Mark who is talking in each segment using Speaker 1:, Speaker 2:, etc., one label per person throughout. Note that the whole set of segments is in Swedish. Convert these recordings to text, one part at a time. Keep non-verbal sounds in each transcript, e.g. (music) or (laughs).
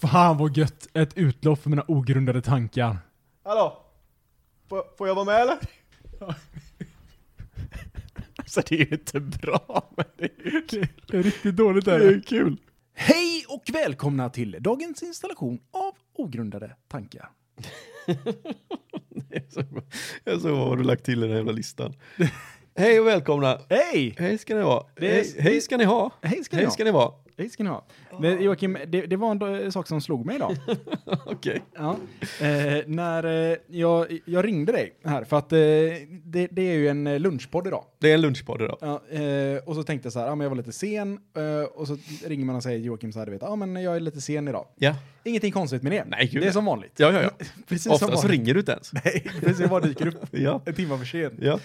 Speaker 1: Fan vad gött! Ett utlopp för mina ogrundade tankar.
Speaker 2: Hallå? Får, får jag vara med eller?
Speaker 3: Alltså det är ju inte bra, men det är ju kul.
Speaker 1: Det är riktigt dåligt
Speaker 3: Det
Speaker 1: där.
Speaker 3: är ju kul.
Speaker 1: Hej och välkomna till dagens installation av ogrundade tankar.
Speaker 3: Jag såg- Jag såg vad du lagt till i den här jävla listan. Hej och välkomna.
Speaker 1: Hej!
Speaker 3: Hej ska ni vara.
Speaker 1: Det är-
Speaker 3: Hej, hej ska ni ha.
Speaker 1: Hej ska ni
Speaker 3: Hej
Speaker 1: ha.
Speaker 3: ska ni vara. (laughs)
Speaker 1: Hej ska ni ha. Men Joakim, det, det var en eh, sak som slog mig idag.
Speaker 3: Okej.
Speaker 1: (laughs) Ja. Eh, när eh, jag, jag ringde dig här, för att eh, det, det är ju en eh, lunchpodd idag.
Speaker 3: Det är en lunchpodd idag.
Speaker 1: Ja, eh, och så tänkte jag så här, ja, men jag var lite sen. Eh, och så ringer man och säger Joakim så här, du vet, ja men jag är lite sen idag.
Speaker 3: Ja.
Speaker 1: Ingenting konstigt med det.
Speaker 3: Nej, gud.
Speaker 1: det är som vanligt.
Speaker 3: Ja, ja, ja.
Speaker 1: Precis som
Speaker 3: Ofta så
Speaker 1: vanligt.
Speaker 3: ringer du inte ens.
Speaker 1: Nej, precis vad dyker upp.
Speaker 3: (laughs) Ja.
Speaker 1: En timme för sent.
Speaker 3: Ja.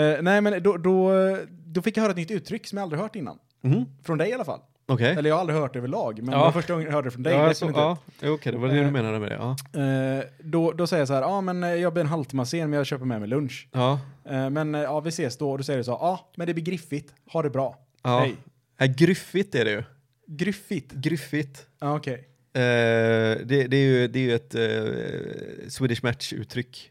Speaker 1: Eh, nej, men då, då, då fick jag höra ett nytt uttryck som jag aldrig hört innan.
Speaker 3: Mhm.
Speaker 1: Från dig i alla fall.
Speaker 3: Okej.
Speaker 1: Eller jag har aldrig hört det överlag, men
Speaker 3: Ja.
Speaker 1: det var första gången jag hörde det från dig.
Speaker 3: Ja, alltså,
Speaker 1: definitivt.
Speaker 3: ja. Okej, det var det
Speaker 1: Eh.
Speaker 3: du menade med det. Ja.
Speaker 1: Eh, då, då säger jag så här, ja ah, men eh, jag blir en halvtimme sen men jag köper med mig lunch.
Speaker 3: Ja.
Speaker 1: Eh, men eh, ja, vi ses då. Och då säger du så, ja ah, men det blir griffigt, ha det bra.
Speaker 3: ja.
Speaker 1: Hej.
Speaker 3: Ja, Äh, Gryffigt är det ju.
Speaker 1: Griffigt?
Speaker 3: Gryffigt.
Speaker 1: Ja, okej.
Speaker 3: Eh, det, det, är ju, det är ju ett eh, Swedish Match-uttryck.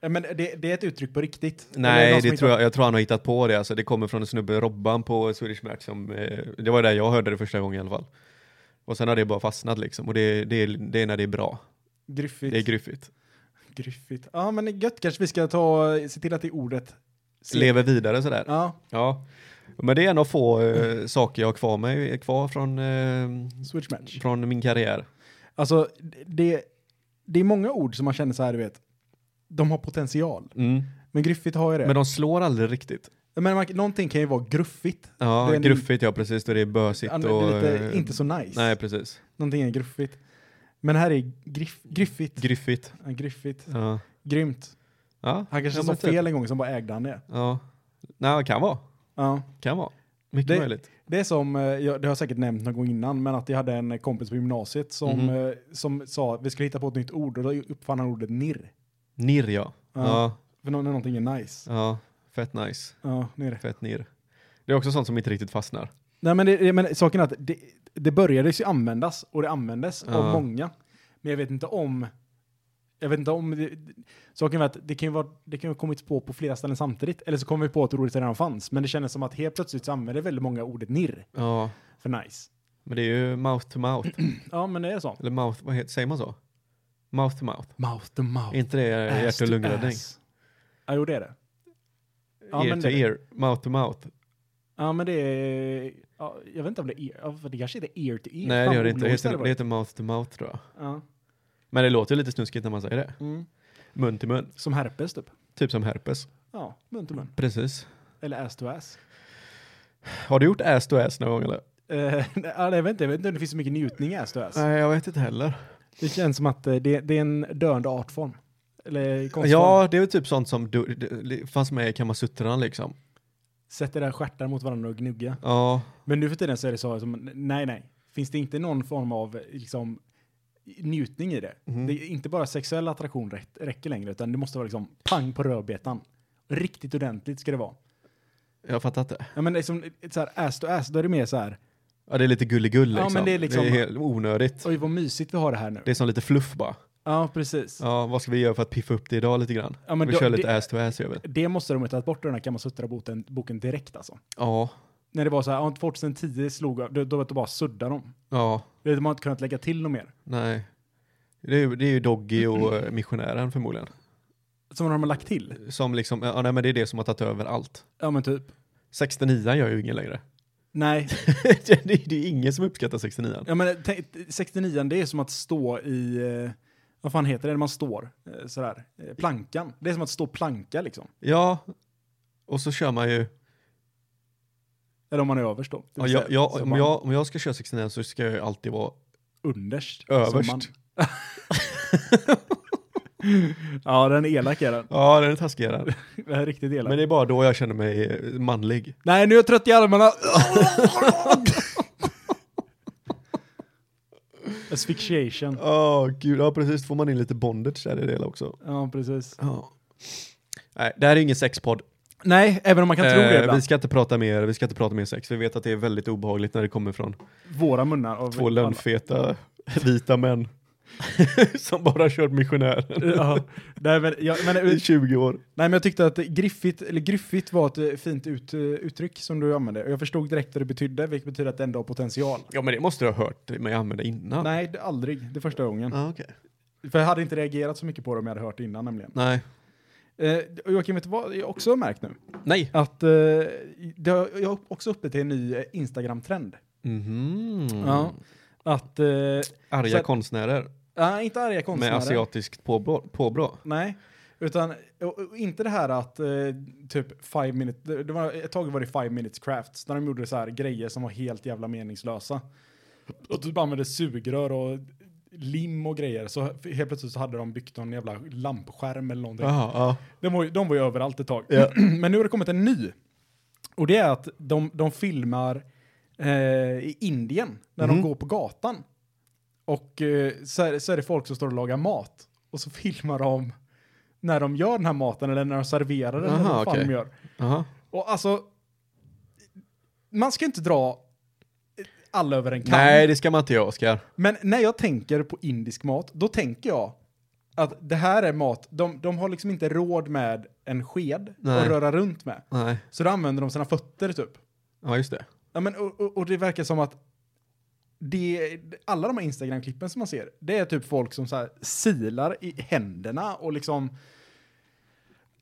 Speaker 1: Eh, Men det, det är ett uttryck på riktigt? Eller är
Speaker 3: Nej,
Speaker 1: någon som
Speaker 3: det
Speaker 1: inte
Speaker 3: tror
Speaker 1: har-
Speaker 3: jag, jag tror han har hittat på det. Alltså, det kommer från en snubbe, Robban på Swedish Match. Som, eh, det var där jag hörde det första gången i alla fall. Och sen har det bara fastnat liksom. Och det, det, är- det är när det är bra.
Speaker 1: Griffigt.
Speaker 3: Det är gryffigt.
Speaker 1: griffigt. Ja, men gött kanske vi ska ta, se till att det är ordet. Se-
Speaker 3: Lever vidare sådär. Ja.
Speaker 1: Ja,
Speaker 3: Men det är en av få eh, saker jag har kvar, mig, kvar från, eh,
Speaker 1: switch match.
Speaker 3: från min karriär.
Speaker 1: Alltså, det, det är många ord som man känner så här, du vet, de har potential.
Speaker 3: Mm.
Speaker 1: Men griffigt har ju det.
Speaker 3: Men de slår aldrig riktigt.
Speaker 1: Men, man, någonting kan ju vara gruffigt.
Speaker 3: Ja,
Speaker 1: Det är en-
Speaker 3: gruffigt ja precis. Då det är bösigt
Speaker 1: An-
Speaker 3: och...
Speaker 1: det är lite,
Speaker 3: eh,
Speaker 1: inte så nice.
Speaker 3: Nej, precis.
Speaker 1: Någonting är gruffigt. Men här är griff, griffigt.
Speaker 3: Gryffigt.
Speaker 1: Ja, griffigt.
Speaker 3: Ja.
Speaker 1: Grymt.
Speaker 3: Ja.
Speaker 1: Han kanske
Speaker 3: ja,
Speaker 1: sa
Speaker 3: men typ.
Speaker 1: fel en gång som bara ägde han det.
Speaker 3: Ja. Nej, kan vara.
Speaker 1: Ja.
Speaker 3: Kan vara. Mycket
Speaker 1: Det-
Speaker 3: möjligt.
Speaker 1: Det är som, eh, jag, det har jag säkert nämnt någon gång innan, men att jag hade en kompis på gymnasiet som,
Speaker 3: Mhm.
Speaker 1: eh, som sa att vi skulle hitta på ett nytt ord och då uppfann han ordet nirr.
Speaker 3: Nirr ja.
Speaker 1: Ja.
Speaker 3: ja.
Speaker 1: För nå- när någonting är nice.
Speaker 3: Ja, fett nice.
Speaker 1: Ja, nirr.
Speaker 3: Fett nir. Det är också sånt som inte riktigt fastnar.
Speaker 1: Nej men, det- det, men saken är att det, det började ju användas och det användes av
Speaker 3: Ja.
Speaker 1: många. Men jag vet inte om, jag vet inte om, det, saken är att det kan ju vara, det kan ju ha kommit på på flera ställen samtidigt. Eller så kom vi på att ordet redan fanns. Men det kändes som att helt plötsligt så använde väldigt många ordet nirr
Speaker 3: Ja,
Speaker 1: för nice.
Speaker 3: men det är ju mouth to mouth.
Speaker 1: Ja men det är så.
Speaker 3: Eller mouth, vad heter, säger man så? Mouth to mouth.
Speaker 1: Mouth to mouth.
Speaker 3: Är inte det hjärt
Speaker 1: Ass to
Speaker 3: och lungräddning?
Speaker 1: ass. Ja, jo det är det. Ja,
Speaker 3: ear
Speaker 1: men
Speaker 3: to
Speaker 1: det-
Speaker 3: ear, mouth to mouth.
Speaker 1: Ja, men det är... Ja, jag vet inte om det är ear... ja, för Det kanske heter ear to ear.
Speaker 3: Nej,
Speaker 1: Fan,
Speaker 3: det gör det inte. Det
Speaker 1: ologiskt
Speaker 3: heter,
Speaker 1: hade
Speaker 3: det
Speaker 1: varit.
Speaker 3: heter mouth to mouth tror jag.
Speaker 1: Ja.
Speaker 3: Men det låter ju lite snuskigt när man säger det.
Speaker 1: Mm.
Speaker 3: Mun till mun.
Speaker 1: Som herpes typ.
Speaker 3: Typ som herpes.
Speaker 1: Ja, mun till
Speaker 3: Mm.
Speaker 1: mun.
Speaker 3: Precis.
Speaker 1: Eller ass to ass.
Speaker 3: Har du gjort ass to ass någon gång eller?
Speaker 1: Eh, (laughs) nej, ja, jag, vet inte, jag vet inte om det finns så mycket njutning i ass to ass.
Speaker 3: Nej, jag vet inte heller.
Speaker 1: Det känns som att eh, det, det är en döende artform. Eller konstform.
Speaker 3: Ja, det är väl typ sånt som du, det fanns med i Kamasutran liksom.
Speaker 1: Sätt era stjärtar mot varandra och gnugga.
Speaker 3: Ja,
Speaker 1: Men nu för tiden så är det så som, nej, nej. Finns det inte någon form av eh, liksom njutning i det?
Speaker 3: Mhm.
Speaker 1: Det är inte bara sexuell attraktion rätt, räcker längre, utan det måste vara liksom pang på rödbetan. Riktigt ordentligt ska det vara.
Speaker 3: jag har fattat det.
Speaker 1: Ja, men det är som ett så här ass to ass, då är det mer så här,
Speaker 3: Ja, det är lite gulligull
Speaker 1: Ja,
Speaker 3: liksom.
Speaker 1: men det är liksom-
Speaker 3: det är helt onödigt.
Speaker 1: oj vad mysigt vi har det här nu.
Speaker 3: Det är som lite fluff bara.
Speaker 1: Ja, precis.
Speaker 3: Ja, vad ska vi göra för att piffa upp det idag lite grann?
Speaker 1: Ja, men
Speaker 3: vi
Speaker 1: då-
Speaker 3: kör lite
Speaker 1: det-
Speaker 3: ass to ass gör vi.
Speaker 1: Det måste de ha tagit bort ur den här Kamasutra-boken boken direkt alltså.
Speaker 3: Ja,
Speaker 1: När det var så här, ja, 2010 slog, då, då, då bara sudda dem.
Speaker 3: ja,
Speaker 1: Det- De har inte kunnat lägga till något mer.
Speaker 3: nej. Det är, ju- det är ju Doggy och eh, missionären förmodligen.
Speaker 1: Som de har lagt till.
Speaker 3: Som liksom, ja nej men det är det som har tagit över allt.
Speaker 1: Ja, men typ.
Speaker 3: 69 gör ju ingen längre. (laughs)
Speaker 1: Nej,
Speaker 3: det, är, det är ingen som uppskattar 69
Speaker 1: ja, men eh, tänk, 69 det är som att stå i, eh, vad fan heter det när man står? Eh, Sådär, eh, plankan. Det är som att stå planka liksom.
Speaker 3: Ja, och så kör man ju,
Speaker 1: Eller om man är överst då. Det
Speaker 3: ja,
Speaker 1: vill
Speaker 3: jag,
Speaker 1: säga,
Speaker 3: jag,
Speaker 1: så
Speaker 3: om,
Speaker 1: man
Speaker 3: jag, om jag ska köra 69 så ska jag ju alltid vara,
Speaker 1: Underst. som
Speaker 3: Överst.
Speaker 1: man. (laughs) ja, den är elak är den. (laughs)
Speaker 3: ja den är taskig den.
Speaker 1: Den är riktigt elak.
Speaker 3: Men det är bara då jag känner mig eh, manlig.
Speaker 1: Nej, nu är jag trött i armarna. (laughs) Asphyxiation.
Speaker 3: Ja, gud, ja precis, får man in lite bondage där i det hela också.
Speaker 1: Ja, precis.
Speaker 3: Ja. Nej, det här är ingen sexpodd.
Speaker 1: Nej, även om man kan tro det
Speaker 3: Eh, vi
Speaker 1: ibland.
Speaker 3: ska inte prata mer, vi ska inte prata mer sex. Vi vet att det är väldigt obehagligt när det kommer från
Speaker 1: Våra munnar. Av
Speaker 3: två lönnfeta Vita män. (laughs) som bara kört missionären
Speaker 1: ja. Nej, men, jag,
Speaker 3: (laughs)
Speaker 1: men,
Speaker 3: i 20 år.
Speaker 1: Nej, men jag tyckte att griffigt, eller griffigt var ett eh, fint ut, eh, uttryck som du använde. Och jag förstod direkt vad det betydde, vilket betyder att det ändå har potential.
Speaker 3: Ja men det måste du ha hört mig använda innan.
Speaker 1: Nej, det, aldrig. Det är första gången.
Speaker 3: Ah, okej.
Speaker 1: För jag hade inte reagerat så mycket på det om jag hade hört det innan nämligen.
Speaker 3: Nej.
Speaker 1: Eh, och Joakim, vet du vad jag också har märkt nu?
Speaker 3: Nej.
Speaker 1: Att eh, det har, jag är också uppe till en ny eh, Instagram-trend.
Speaker 3: Mhm.
Speaker 1: Ja. Att, eh,
Speaker 3: Arga
Speaker 1: Så att-
Speaker 3: konstnärer
Speaker 1: nej, inte arga konstnärer.
Speaker 3: med asiatiskt påbrå. påbrå.
Speaker 1: Nej, utan och, och inte det här att eh, typ five minutes, det, det var, ett tag var det five minutes crafts, när de gjorde så här grejer som var helt jävla meningslösa. Och typ använde sugrör och lim och grejer, så helt plötsligt så hade de byggt någon jävla lampskärm eller någonting.
Speaker 3: Jaha, ja.
Speaker 1: De var, ju- de var ju överallt ett tag. (clears throat) Men nu har det kommit en ny. Och det är att de, de filmar eh, i Indien när de
Speaker 3: Mhm.
Speaker 1: går på gatan. Och eh, så, är, så är det folk som står och lagar mat. Och så (laughs) filmar de när de gör den här maten eller när de serverar den. eller
Speaker 3: Aha,
Speaker 1: vad fan de
Speaker 3: okej.
Speaker 1: gör.
Speaker 3: Jaha.
Speaker 1: Och alltså, man ska inte dra alla över en kam.
Speaker 3: Nej det ska man inte göra Oskar.
Speaker 1: Men när jag tänker på indisk mat, då tänker jag att det här är mat, de, de har liksom inte råd med en sked att
Speaker 3: Nej.
Speaker 1: röra runt med.
Speaker 3: Nej.
Speaker 1: Så då använder de sina fötter typ.
Speaker 3: Ja just det.
Speaker 1: Ja, men, och, och, och det verkar som att det, alla de här Instagram-klippen som man ser, det är typ folk som så här silar i händerna och liksom...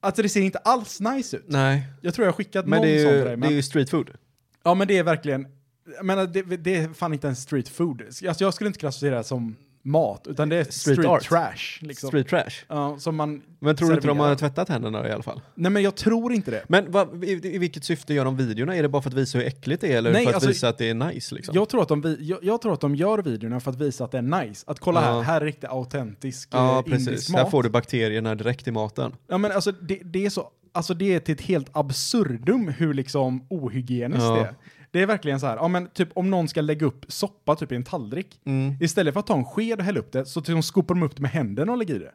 Speaker 1: Alltså det ser inte alls nice ut.
Speaker 3: Nej.
Speaker 1: Jag tror jag har skickat
Speaker 3: Men
Speaker 1: någon
Speaker 3: det är,
Speaker 1: sån
Speaker 3: ju,
Speaker 1: till dig.
Speaker 3: det är
Speaker 1: Men,
Speaker 3: ju street food.
Speaker 1: ja men det är verkligen... Jag menar, det, det är fan inte ens street food. Alltså, jag skulle inte klassificera det som mat, utan det är street,
Speaker 3: Street art.
Speaker 1: trash. Liksom.
Speaker 3: Street trash.
Speaker 1: Ja, som man...
Speaker 3: Men tror du inte de
Speaker 1: serverar.
Speaker 3: har tvättat händerna i alla fall?
Speaker 1: Nej men jag tror inte det.
Speaker 3: Men vad, i, i vilket syfte gör de videorna? Är det bara för att visa hur äckligt det är eller
Speaker 1: Nej,
Speaker 3: för att
Speaker 1: alltså-
Speaker 3: visa att det är nice liksom?
Speaker 1: Jag tror, att de, vi- jag, jag tror att de gör videorna för att visa att det är nice. Att kolla
Speaker 3: Ja.
Speaker 1: här, här är riktigt autentisk
Speaker 3: ja
Speaker 1: eh,
Speaker 3: precis,
Speaker 1: indisk
Speaker 3: här
Speaker 1: mat.
Speaker 3: får du bakterierna direkt i maten.
Speaker 1: Ja men alltså det, det är så, alltså det är till ett helt absurdum hur liksom ohygieniskt
Speaker 3: Ja.
Speaker 1: det är. Det är verkligen så här, ja men typ om någon ska lägga upp soppa typ i en tallrik,
Speaker 3: Mm.
Speaker 1: istället för att ta en sked och hälla upp det så typ, skopar de upp det med händerna och lägger i det.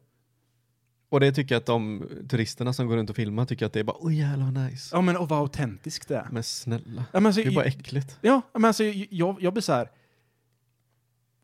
Speaker 3: Och det tycker jag att de turisterna som går runt och filmar tycker att det är bara oj jävlar vad nice.
Speaker 1: Ja men och vad autentiskt det är.
Speaker 3: Men snälla,
Speaker 1: Ja, men, så,
Speaker 3: det är bara äckligt.
Speaker 1: Ja, men alltså jag, jag blir så här.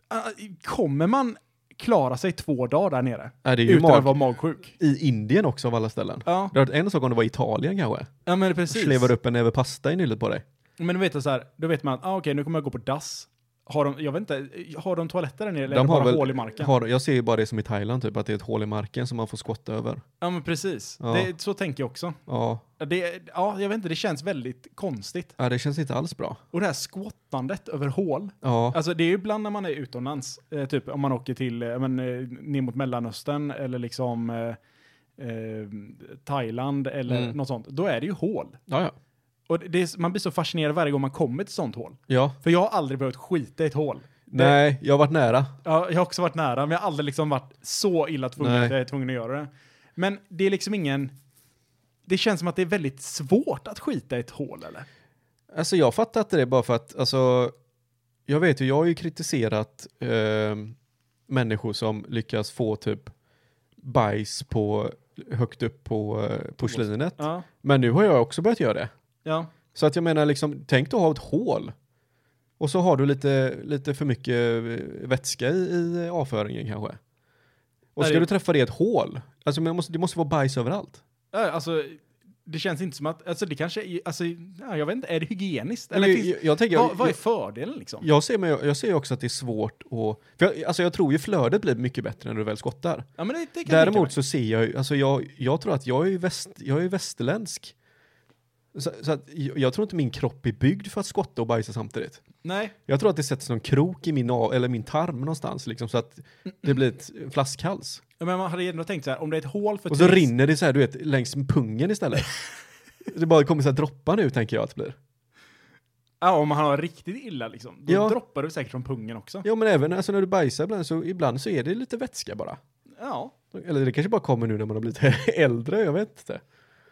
Speaker 1: Ah, Kommer man klara sig två dagar där nere?
Speaker 3: Nej, det är ju
Speaker 1: Utan att
Speaker 3: mag-
Speaker 1: vara magsjuk?
Speaker 3: i Indien också av alla ställen.
Speaker 1: Ja,
Speaker 3: Det hade varit en sak om det var Italien kanske.
Speaker 1: ja men precis.
Speaker 3: Slevar upp en näve pasta i nyllet på dig.
Speaker 1: Men du vet du så här, då vet man att ah, okej, nu kommer jag gå på dass. Har de, jag vet inte, har de toaletter där nere eller är det bara hål i marken?
Speaker 3: Har, jag ser ju bara det som i Thailand typ, att det är ett hål i marken som man får skotta över.
Speaker 1: Ja men precis,
Speaker 3: Ja.
Speaker 1: Det, så tänker jag också.
Speaker 3: Ja,
Speaker 1: Det, ja, jag vet inte, det känns väldigt konstigt.
Speaker 3: ja det känns inte alls bra.
Speaker 1: Och det här skottandet över hål,
Speaker 3: Ja,
Speaker 1: alltså det är ju ibland när man är utomlands, eh, typ om man åker till, eh, men, eh, ner mot Mellanöstern eller liksom eh, eh, Thailand eller
Speaker 3: Mm.
Speaker 1: något sånt, då är det ju hål.
Speaker 3: ja, ja.
Speaker 1: Och det, det är, man blir så fascinerad varje gång man kommer till sånt hål.
Speaker 3: ja.
Speaker 1: För jag har aldrig behövt skita i ett hål.
Speaker 3: Nej, jag har varit nära.
Speaker 1: Ja, jag har också varit nära, men jag har aldrig liksom varit så illa tvungen
Speaker 3: Nej.
Speaker 1: att jag är tvungen att göra det. Men det är liksom ingen... Det känns som att det är väldigt svårt att skita i ett hål, eller?
Speaker 3: Alltså jag fattar inte det bara för att, alltså, jag vet ju, jag har ju kritiserat ehm, människor som lyckas få typ bajs på, högt upp på eh, porslinet.
Speaker 1: Ja.
Speaker 3: Men nu har jag också börjat göra det.
Speaker 1: ja.
Speaker 3: Så att jag menar liksom, tänk dig att ha ett hål. Och så har du lite, lite för mycket eh, vätska i, i avföringen kanske. Och
Speaker 1: Nej,
Speaker 3: ska
Speaker 1: det-
Speaker 3: du träffa det i ett hål? Alltså men det måste, det måste vara bajs överallt.
Speaker 1: Ja, Alltså, det känns inte som att... Alltså, det kanske är... Alltså, ja, jag vet inte, är det hygieniskt? Eller
Speaker 3: Eller, jag,
Speaker 1: finns,
Speaker 3: jag, jag tänker,
Speaker 1: vad, vad är fördelen, liksom?
Speaker 3: Jag ser, men jag, jag ser ju också att det är svårt att... För jag, alltså jag tror ju flödet blir mycket bättre när du väl skottar.
Speaker 1: Ja, men det, det kan jag tänka mig.
Speaker 3: Däremot så ser jag ju, alltså jag, jag tror att jag är ju väst, jag är ju västerländsk. Så, så att jag, jag tror inte min kropp är byggd för att skotta och bajsa samtidigt.
Speaker 1: Nej.
Speaker 3: Jag tror att det sätts någon krok i min, av- eller min tarm någonstans liksom så att det blir ett en flaskhals.
Speaker 1: Ja, Men man hade ju ändå tänkt så här, om det är ett hål för
Speaker 3: Och så
Speaker 1: turist-
Speaker 3: rinner det så här, du vet, längs
Speaker 1: (laughs)
Speaker 3: pungen istället. det bara kommer så här droppar nu tänker jag att det blir.
Speaker 1: Ja, om man har riktigt illa, liksom. Då
Speaker 3: Ja.
Speaker 1: droppar du säkert från pungen också.
Speaker 3: Ja men även alltså, när du bajsar ibland så, ibland så är det lite vätska bara.
Speaker 1: ja.
Speaker 3: Eller det kanske bara kommer nu när man har blivit (laughs) äldre, jag vet inte.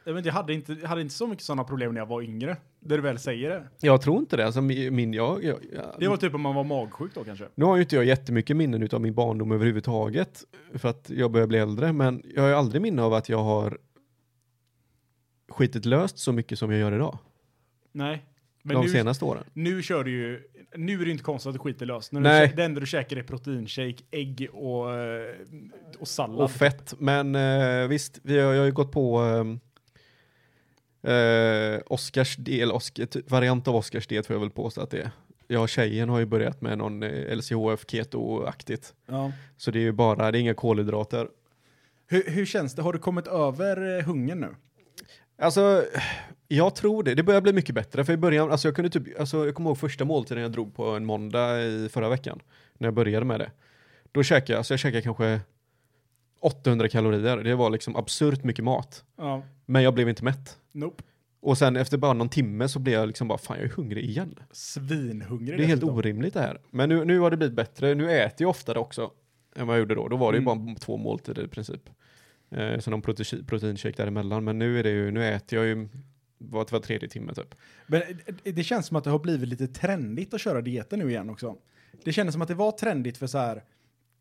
Speaker 1: Jag, vet, inte, jag hade, inte, jag hade inte så mycket sådana problem när jag var yngre. Där du väl säger det.
Speaker 3: Jag tror inte det, alltså min, min jag, jag, jag
Speaker 1: Det var typ om man var magsjuk då kanske.
Speaker 3: Nu har ju inte jag jättemycket minnen utav min barndom överhuvudtaget, för att jag börjar bli äldre, men jag har ju aldrig minne av att jag har skitit löst så mycket som jag gör idag.
Speaker 1: Nej. Men
Speaker 3: de
Speaker 1: nu,
Speaker 3: senaste åren.
Speaker 1: nu kör du ju, nu är det inte konstigt att du skiter löst. När
Speaker 3: Nej.
Speaker 1: Du, kä- det enda du käkar är proteinshake, ägg och, eh, och sallad.
Speaker 3: Och fett. Men eh, visst, vi har, jag har ju gått på eh, eh, Oscars del, Oscar, ty- variant av Oscars del får jag väl påstå att det är. Jag och tjejen har ju börjat med någon eh, LCHF keto-aktigt.
Speaker 1: ja.
Speaker 3: Så det är ju bara, det är inga kolhydrater.
Speaker 1: hur, hur känns det? Har du kommit över eh, hungern nu?
Speaker 3: Alltså, jag tror det. Det börjar bli mycket bättre. För i början, alltså jag kunde typ, alltså jag kommer ihåg första måltiden jag drog på en måndag i förra veckan. När jag började med det. Då käkade jag, alltså jag käkade kanske 800 kalorier. Det var liksom absurt mycket mat.
Speaker 1: Ja.
Speaker 3: Men jag blev inte mätt.
Speaker 1: Nope.
Speaker 3: Och sen efter bara någon timme så blev jag liksom bara, fan jag är hungrig igen.
Speaker 1: Svinhungrig
Speaker 3: Det är helt
Speaker 1: dessutom.
Speaker 3: orimligt det här. Men nu, nu har det blivit bättre. Nu äter jag oftare också än vad jag gjorde då. Då var det ju
Speaker 1: Mm.
Speaker 3: bara två måltider i princip. Eh, så någon prote- proteinshake däremellan. Men nu är det ju, nu äter jag ju var, var tredje timme typ.
Speaker 1: Men eh, det- det känns som att det har blivit lite trendigt att köra dieter nu igen också. Det kändes som att det var trendigt för så här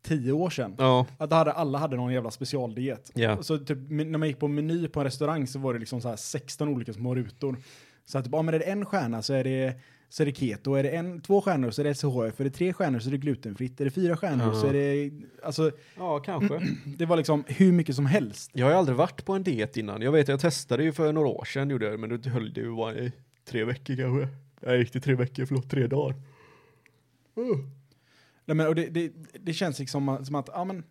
Speaker 1: tio år sedan.
Speaker 3: Ja,
Speaker 1: Att hade, alla hade någon jävla specialdiet.
Speaker 3: ja.
Speaker 1: Så typ, men när man gick på meny på en restaurang så var det liksom så här 16 olika små rutor. Så att typ, ja, men är det en stjärna så är det, så är det keto, är det en, två stjärnor så är det SHF, är det tre stjärnor så är det glutenfritt, är det fyra stjärnor
Speaker 3: Ja.
Speaker 1: så är det... Alltså,
Speaker 3: ja kanske.
Speaker 1: det var liksom hur mycket som helst.
Speaker 3: (clears throat) Jag har ju aldrig varit på en diet innan. Jag vet, jag testade ju för några år sedan gjorde jag det, men då höll det ju bara i tre veckor kanske. Jag gick till tre veckor, förlåt, tre dagar.
Speaker 1: Nej, men, och det, det, det känns liksom som att, ja men,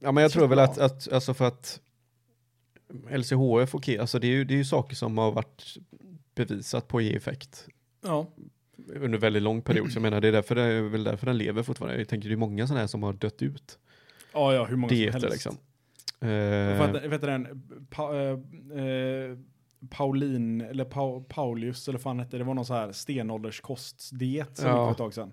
Speaker 3: Ja, men jag
Speaker 1: Känns
Speaker 3: tror väl
Speaker 1: bra.
Speaker 3: att, att, alltså för att LCHF, okej, alltså det är ju, det är ju saker som har varit bevisat på att ge effekt
Speaker 1: ja.
Speaker 3: under väldigt lång period. Så jag menar, det är, därför, det är väl därför den lever fortfarande. Jag tänker, det är många sådana här som har dött ut.
Speaker 1: Ja, ja, hur många som
Speaker 3: Dieter
Speaker 1: helst.
Speaker 3: liksom.
Speaker 1: Vad
Speaker 3: Eh,
Speaker 1: heter- vet du den? Pa, eh, eh, Paulin, eller Pau- Paulius, eller vad fan hette det? Det var någon så här stenålderskostdiet som
Speaker 3: Ja.
Speaker 1: gick för ett tag sedan.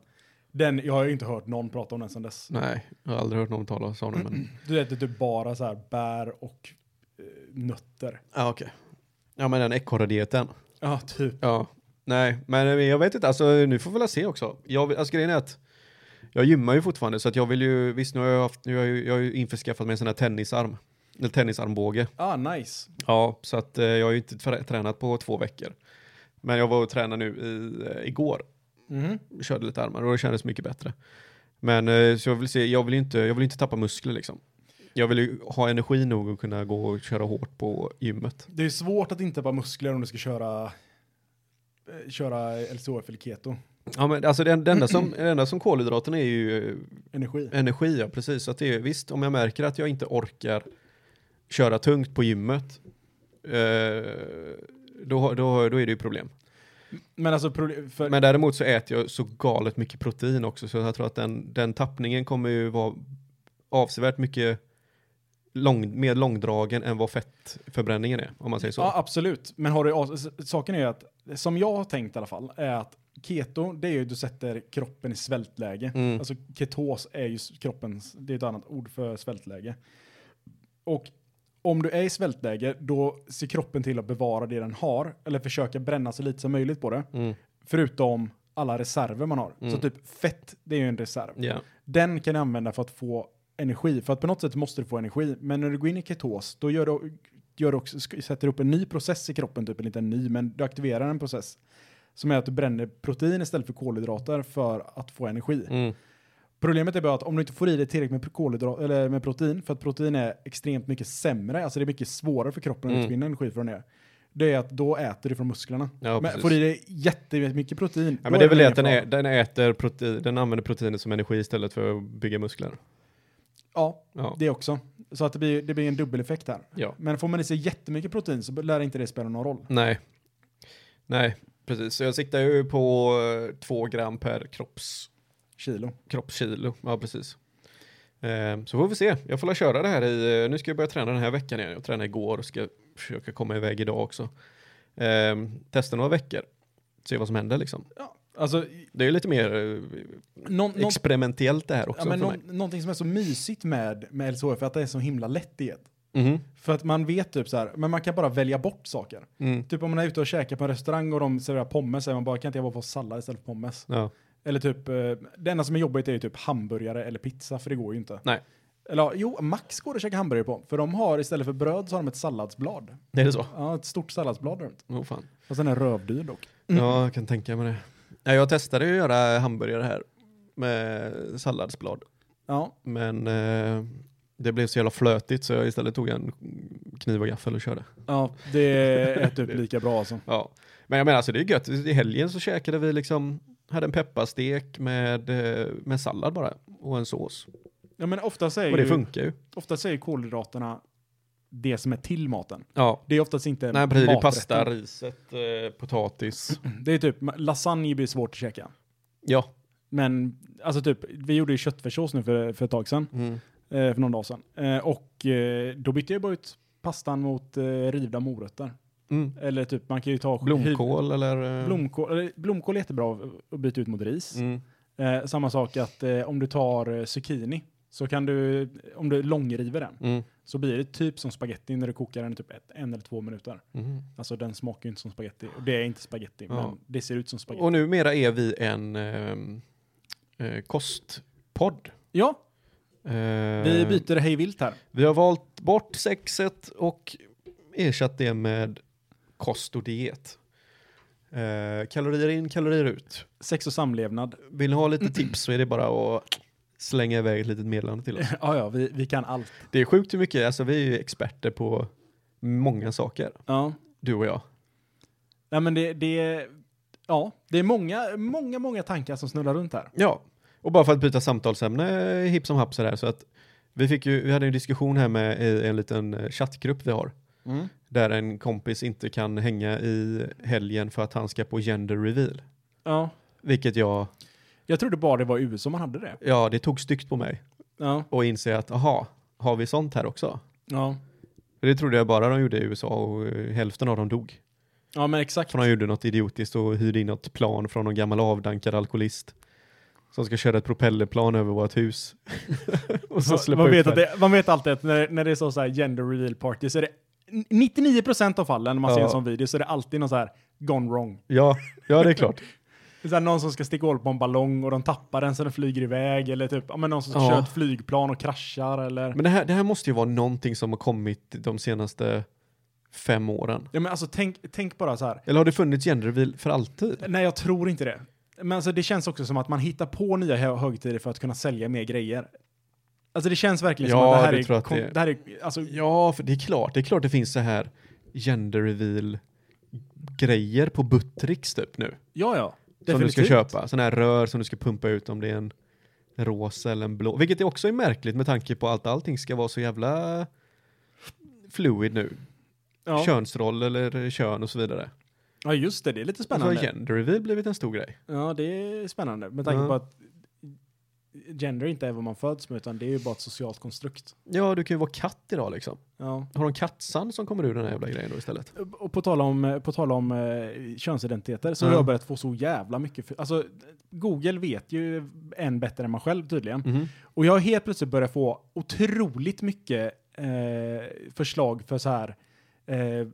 Speaker 1: Den, jag har ju inte hört någon prata om den sedan dess.
Speaker 3: nej, jag har aldrig hört någon tala om
Speaker 1: (clears throat)
Speaker 3: det, men
Speaker 1: Du äter typ bara så här bär och eh, nötter.
Speaker 3: Ja, okej. Ja, men den ekorradieten.
Speaker 1: Ja, typ.
Speaker 3: Ja. Nej, men jag vet inte. Alltså, nu får vi väl se också. Jag, vill- alltså, grejen är att jag gymmar ju fortfarande, så att jag vill ju... Visst, nu har jag, haft, nu har jag, ju- jag har ju införskaffat mig en sån här tennisarm. Eller tennisarmbåge.
Speaker 1: Ah, nice.
Speaker 3: Ja, så att eh, jag har ju inte trä- tränat på två veckor. Men jag var och tränade nu i, eh, igår.
Speaker 1: Mhm.
Speaker 3: Körde lite armar och det kändes mycket bättre. Men eh, så jag vill se, jag vill ju inte, jag vill inte tappa muskler liksom. Jag vill ju ha energi nog att kunna gå och köra hårt på gymmet.
Speaker 1: Det är svårt att inte bara muskler om du ska köra eh, köra LCHF eller keto.
Speaker 3: Ja men alltså det, det, enda, som, det enda som kolhydraterna är ju eh,
Speaker 1: Energi.
Speaker 3: Energi, ja precis. Så Att det är, visst, om jag märker att jag inte orkar köra tungt på gymmet, eh, då, har- då, har- då är det ju problem.
Speaker 1: Men alltså, proble- för,
Speaker 3: Men däremot så äter jag så galet mycket protein också, så jag tror att den, den tappningen kommer ju vara avsevärt mycket lång, mer långdragen än vad fettförbränningen är, om man säger så.
Speaker 1: Ja, absolut. Men har du, as- s- saken är ju att, som jag har tänkt i alla fall, är att keto, det är ju att du sätter kroppen i svältläge.
Speaker 3: Mm.
Speaker 1: Alltså ketos är ju s- kroppens, det är ett annat ord för svältläge. Och om du är i svältläge, då ser kroppen till att bevara det den har, eller försöka bränna så lite som möjligt på det,
Speaker 3: Mm.
Speaker 1: förutom alla reserver man har. Så typ fett, det är ju en reserv.
Speaker 3: Ja.
Speaker 1: Den kan du använda för att få energi, för att på något sätt måste du få energi. Men när du går in i ketos, då gör du, gör du också, sk- sätter du upp en ny process i kroppen, typ eller inte en ny, men du aktiverar en process som är att du bränner protein istället för kolhydrater för att få energi.
Speaker 3: Mm.
Speaker 1: Problemet är bara att om du inte får i dig tillräckligt med, kolhydrat, eller med protein, för att protein är extremt mycket sämre, alltså det är mycket svårare för kroppen att
Speaker 3: Mm.
Speaker 1: utvinna energi från det, det är att då äter du från musklerna.
Speaker 3: Ja,
Speaker 1: men
Speaker 3: precis.
Speaker 1: får du i dig jättemycket protein,
Speaker 3: Ja,
Speaker 1: då
Speaker 3: men det är väl det
Speaker 1: ingen
Speaker 3: att den,
Speaker 1: fara.
Speaker 3: ä, den äter protein, den använder proteinet som energi istället för att bygga muskler.
Speaker 1: Ja,
Speaker 3: Ja.
Speaker 1: det också. Så att det blir, det blir en dubbeleffekt här.
Speaker 3: ja.
Speaker 1: Men får man i sig jättemycket protein så lär inte det spela någon roll.
Speaker 3: Nej. Nej, precis. Så jag siktar ju på eh, två gram per kropps,
Speaker 1: Kilo.
Speaker 3: kroppskilo. Ja, precis. Eh, Så får vi se. Jag får la köra det här i... eh, Nu ska jag börja träna den här veckan igen. Jag tränade igår och ska försöka komma iväg idag också. Eh, Testa några veckor. Se vad som händer liksom.
Speaker 1: Ja, alltså,
Speaker 3: Det är ju lite mer eh,
Speaker 1: någon, någon,
Speaker 3: experimentellt det här också
Speaker 1: ja, men
Speaker 3: för
Speaker 1: någon,
Speaker 3: mig.
Speaker 1: någonting som är så mysigt med, med LCHF är att det är en så himla lätt diet.
Speaker 3: Mhm.
Speaker 1: För att man vet typ så här, men man kan bara välja bort saker.
Speaker 3: Mm.
Speaker 1: Typ om man är ute och käkar på en restaurang och de serverar pommes, säger man bara kan inte jag bara få sallad istället för pommes?
Speaker 3: Ja.
Speaker 1: Eller typ, eh, det enda som är jobbigt är ju typ hamburgare eller pizza, för det går ju inte.
Speaker 3: Nej.
Speaker 1: Eller ja, jo, Max går det att käka hamburgare på. För de har istället för bröd så har de ett salladsblad.
Speaker 3: Är det så?
Speaker 1: Ja, ett stort salladsblad runt.
Speaker 3: Åh fan.
Speaker 1: Och sen är den rövdyr dock.
Speaker 3: Ja, jag kan tänka mig det. Nej, jag testade ju att göra hamburgare här med salladsblad.
Speaker 1: Ja,
Speaker 3: Men eh, det blev så jävla flötigt så jag istället tog en kniv och gaffel och körde.
Speaker 1: ja det är typ lika bra alltså.
Speaker 3: Ja. Men jag menar alltså det är gött. I helgen så käkade vi liksom, hade en pepparstek med, eh, med sallad bara och en sås.
Speaker 1: Ja, men ofta säger,
Speaker 3: Och det
Speaker 1: ju,
Speaker 3: funkar ju.
Speaker 1: ofta säger kolhydraterna det som är till maten.
Speaker 3: Ja.
Speaker 1: Det är oftast inte
Speaker 3: Nej, precis. Det är
Speaker 1: maträtten.
Speaker 3: pasta, riset, eh, potatis.
Speaker 1: Det är typ, lasagne blir svårt att käka.
Speaker 3: Ja.
Speaker 1: Men, alltså typ, vi gjorde ju köttfärssås nu för, för ett tag sedan.
Speaker 3: Mm.
Speaker 1: eh, för någon dag sedan. Eh, och eh, då bytte jag bara ut pastan mot eh, rivna morötter.
Speaker 3: Mm.
Speaker 1: Eller typ, man kan ju ta
Speaker 3: Blomkål eller? eh,
Speaker 1: Blomkål, eller, blomkål är jättebra att byta ut mot ris.
Speaker 3: Mm.
Speaker 1: Eh, samma sak att eh, om du tar eh, zucchini så kan du, om du långriver den,
Speaker 3: Mm.
Speaker 1: så blir det typ som spagetti när du kokar den i typ ett, en eller två minuter.
Speaker 3: Mm.
Speaker 1: Alltså den smakar ju inte som spagetti. Och det är inte spagetti,
Speaker 3: Ja.
Speaker 1: men det ser ut som spagetti.
Speaker 3: Och numera är vi en ehm, eh, kostpodd.
Speaker 1: ja,
Speaker 3: Eh,
Speaker 1: vi byter hej vilt här.
Speaker 3: Vi har valt bort sexet och ersatt det med kost och diet. Eh, kalorier in, kalorier ut.
Speaker 1: Sex och
Speaker 3: (laughs)
Speaker 1: samlevnad.
Speaker 3: Vill ni ha lite tips så är det bara att slänga iväg ett litet meddelande till
Speaker 1: (laughs)
Speaker 3: oss.
Speaker 1: ja, ja, vi, vi kan allt.
Speaker 3: Det är sjukt hur mycket, alltså vi är ju experter på många saker,
Speaker 1: Ja.
Speaker 3: du och jag.
Speaker 1: Nej, men det, det, ja, det är många, många, många tankar som snurrar runt här.
Speaker 3: Ja, och bara för att byta samtalsämne hipp som happ sådär så att vi fick ju, vi hade en diskussion här med i en liten eh, chattgrupp vi har där en kompis inte kan hänga i helgen för att han ska på gender reveal.
Speaker 1: Ja.
Speaker 3: Vilket jag,
Speaker 1: Jag trodde bara det var i USA man hade det.
Speaker 3: ja det tog styggt på mig
Speaker 1: Ja.
Speaker 3: och inse att aha, har vi sånt här också?
Speaker 1: Ja,
Speaker 3: För Det trodde jag bara de gjorde i USA och eh, hälften av dem dog.
Speaker 1: ja men exakt.
Speaker 3: För de gjorde något idiotiskt och hyrde in något plan från någon gammal avdankad alkoholist. Som ska köra ett propellerplan över vårt hus. (laughs) och så
Speaker 1: Man-
Speaker 3: (laughs) släppa
Speaker 1: man,
Speaker 3: ut
Speaker 1: vet
Speaker 3: folk.
Speaker 1: att det, man vet alltid att när, när det är så, så här gender reveal party så är det 99% av fallen när man ser
Speaker 3: Ja.
Speaker 1: en sån video så är det alltid någon så här gone wrong.
Speaker 3: Ja, ja det är klart.
Speaker 1: Det är så här, någon som ska sticka hål på en ballong och de tappar den så den flyger iväg eller typ ja, men någon som ska
Speaker 3: Ja.
Speaker 1: köra ett flygplan och kraschar eller.
Speaker 3: Men det här, det här måste ju vara någonting som har kommit de senaste fem åren.
Speaker 1: ja men alltså tänk, tänk bara så här.
Speaker 3: Eller har det funnits genderreveal för alltid?
Speaker 1: Nej, jag tror inte det. Men alltså, det känns också som att man hittar på nya hö- högtider för att kunna sälja mer grejer. Alltså det känns verkligen som
Speaker 3: Ja,
Speaker 1: att det här
Speaker 3: det
Speaker 1: är...
Speaker 3: tror jag att
Speaker 1: kon-
Speaker 3: det är.
Speaker 1: här är alltså,
Speaker 3: Ja, för det är klart. Det är klart det finns så här genderreveal grejer på Buttricks typ nu.
Speaker 1: ja, ja.
Speaker 3: Som du
Speaker 1: Definitivt.
Speaker 3: ska köpa. Sådana här rör som du ska pumpa ut om det är en rosa eller en blå. Vilket är också är märkligt med tanke på att allting ska vara så jävla fluid nu.
Speaker 1: Ja.
Speaker 3: Könsroll eller kön och så vidare.
Speaker 1: ja, just det. Det är lite
Speaker 3: Spännande. Alltså
Speaker 1: spännande.
Speaker 3: har genderreveal blivit en stor grej.
Speaker 1: Ja, det är spännande. Med tanke
Speaker 3: Ja.
Speaker 1: på att gender inte är vad man föds med, utan det är ju bara ett socialt konstrukt.
Speaker 3: Ja, du kan ju vara katt idag liksom.
Speaker 1: Ja.
Speaker 3: Har de kattsand som kommer ur den här jävla grejen då istället?
Speaker 1: Och på tal om, på tal om eh, könsidentiteter så
Speaker 3: Ja.
Speaker 1: har jag börjat få så jävla mycket... För, alltså, Google vet ju en bättre än man själv tydligen. Och jag har helt plötsligt börjat få otroligt mycket eh, förslag för så här, eh, eh,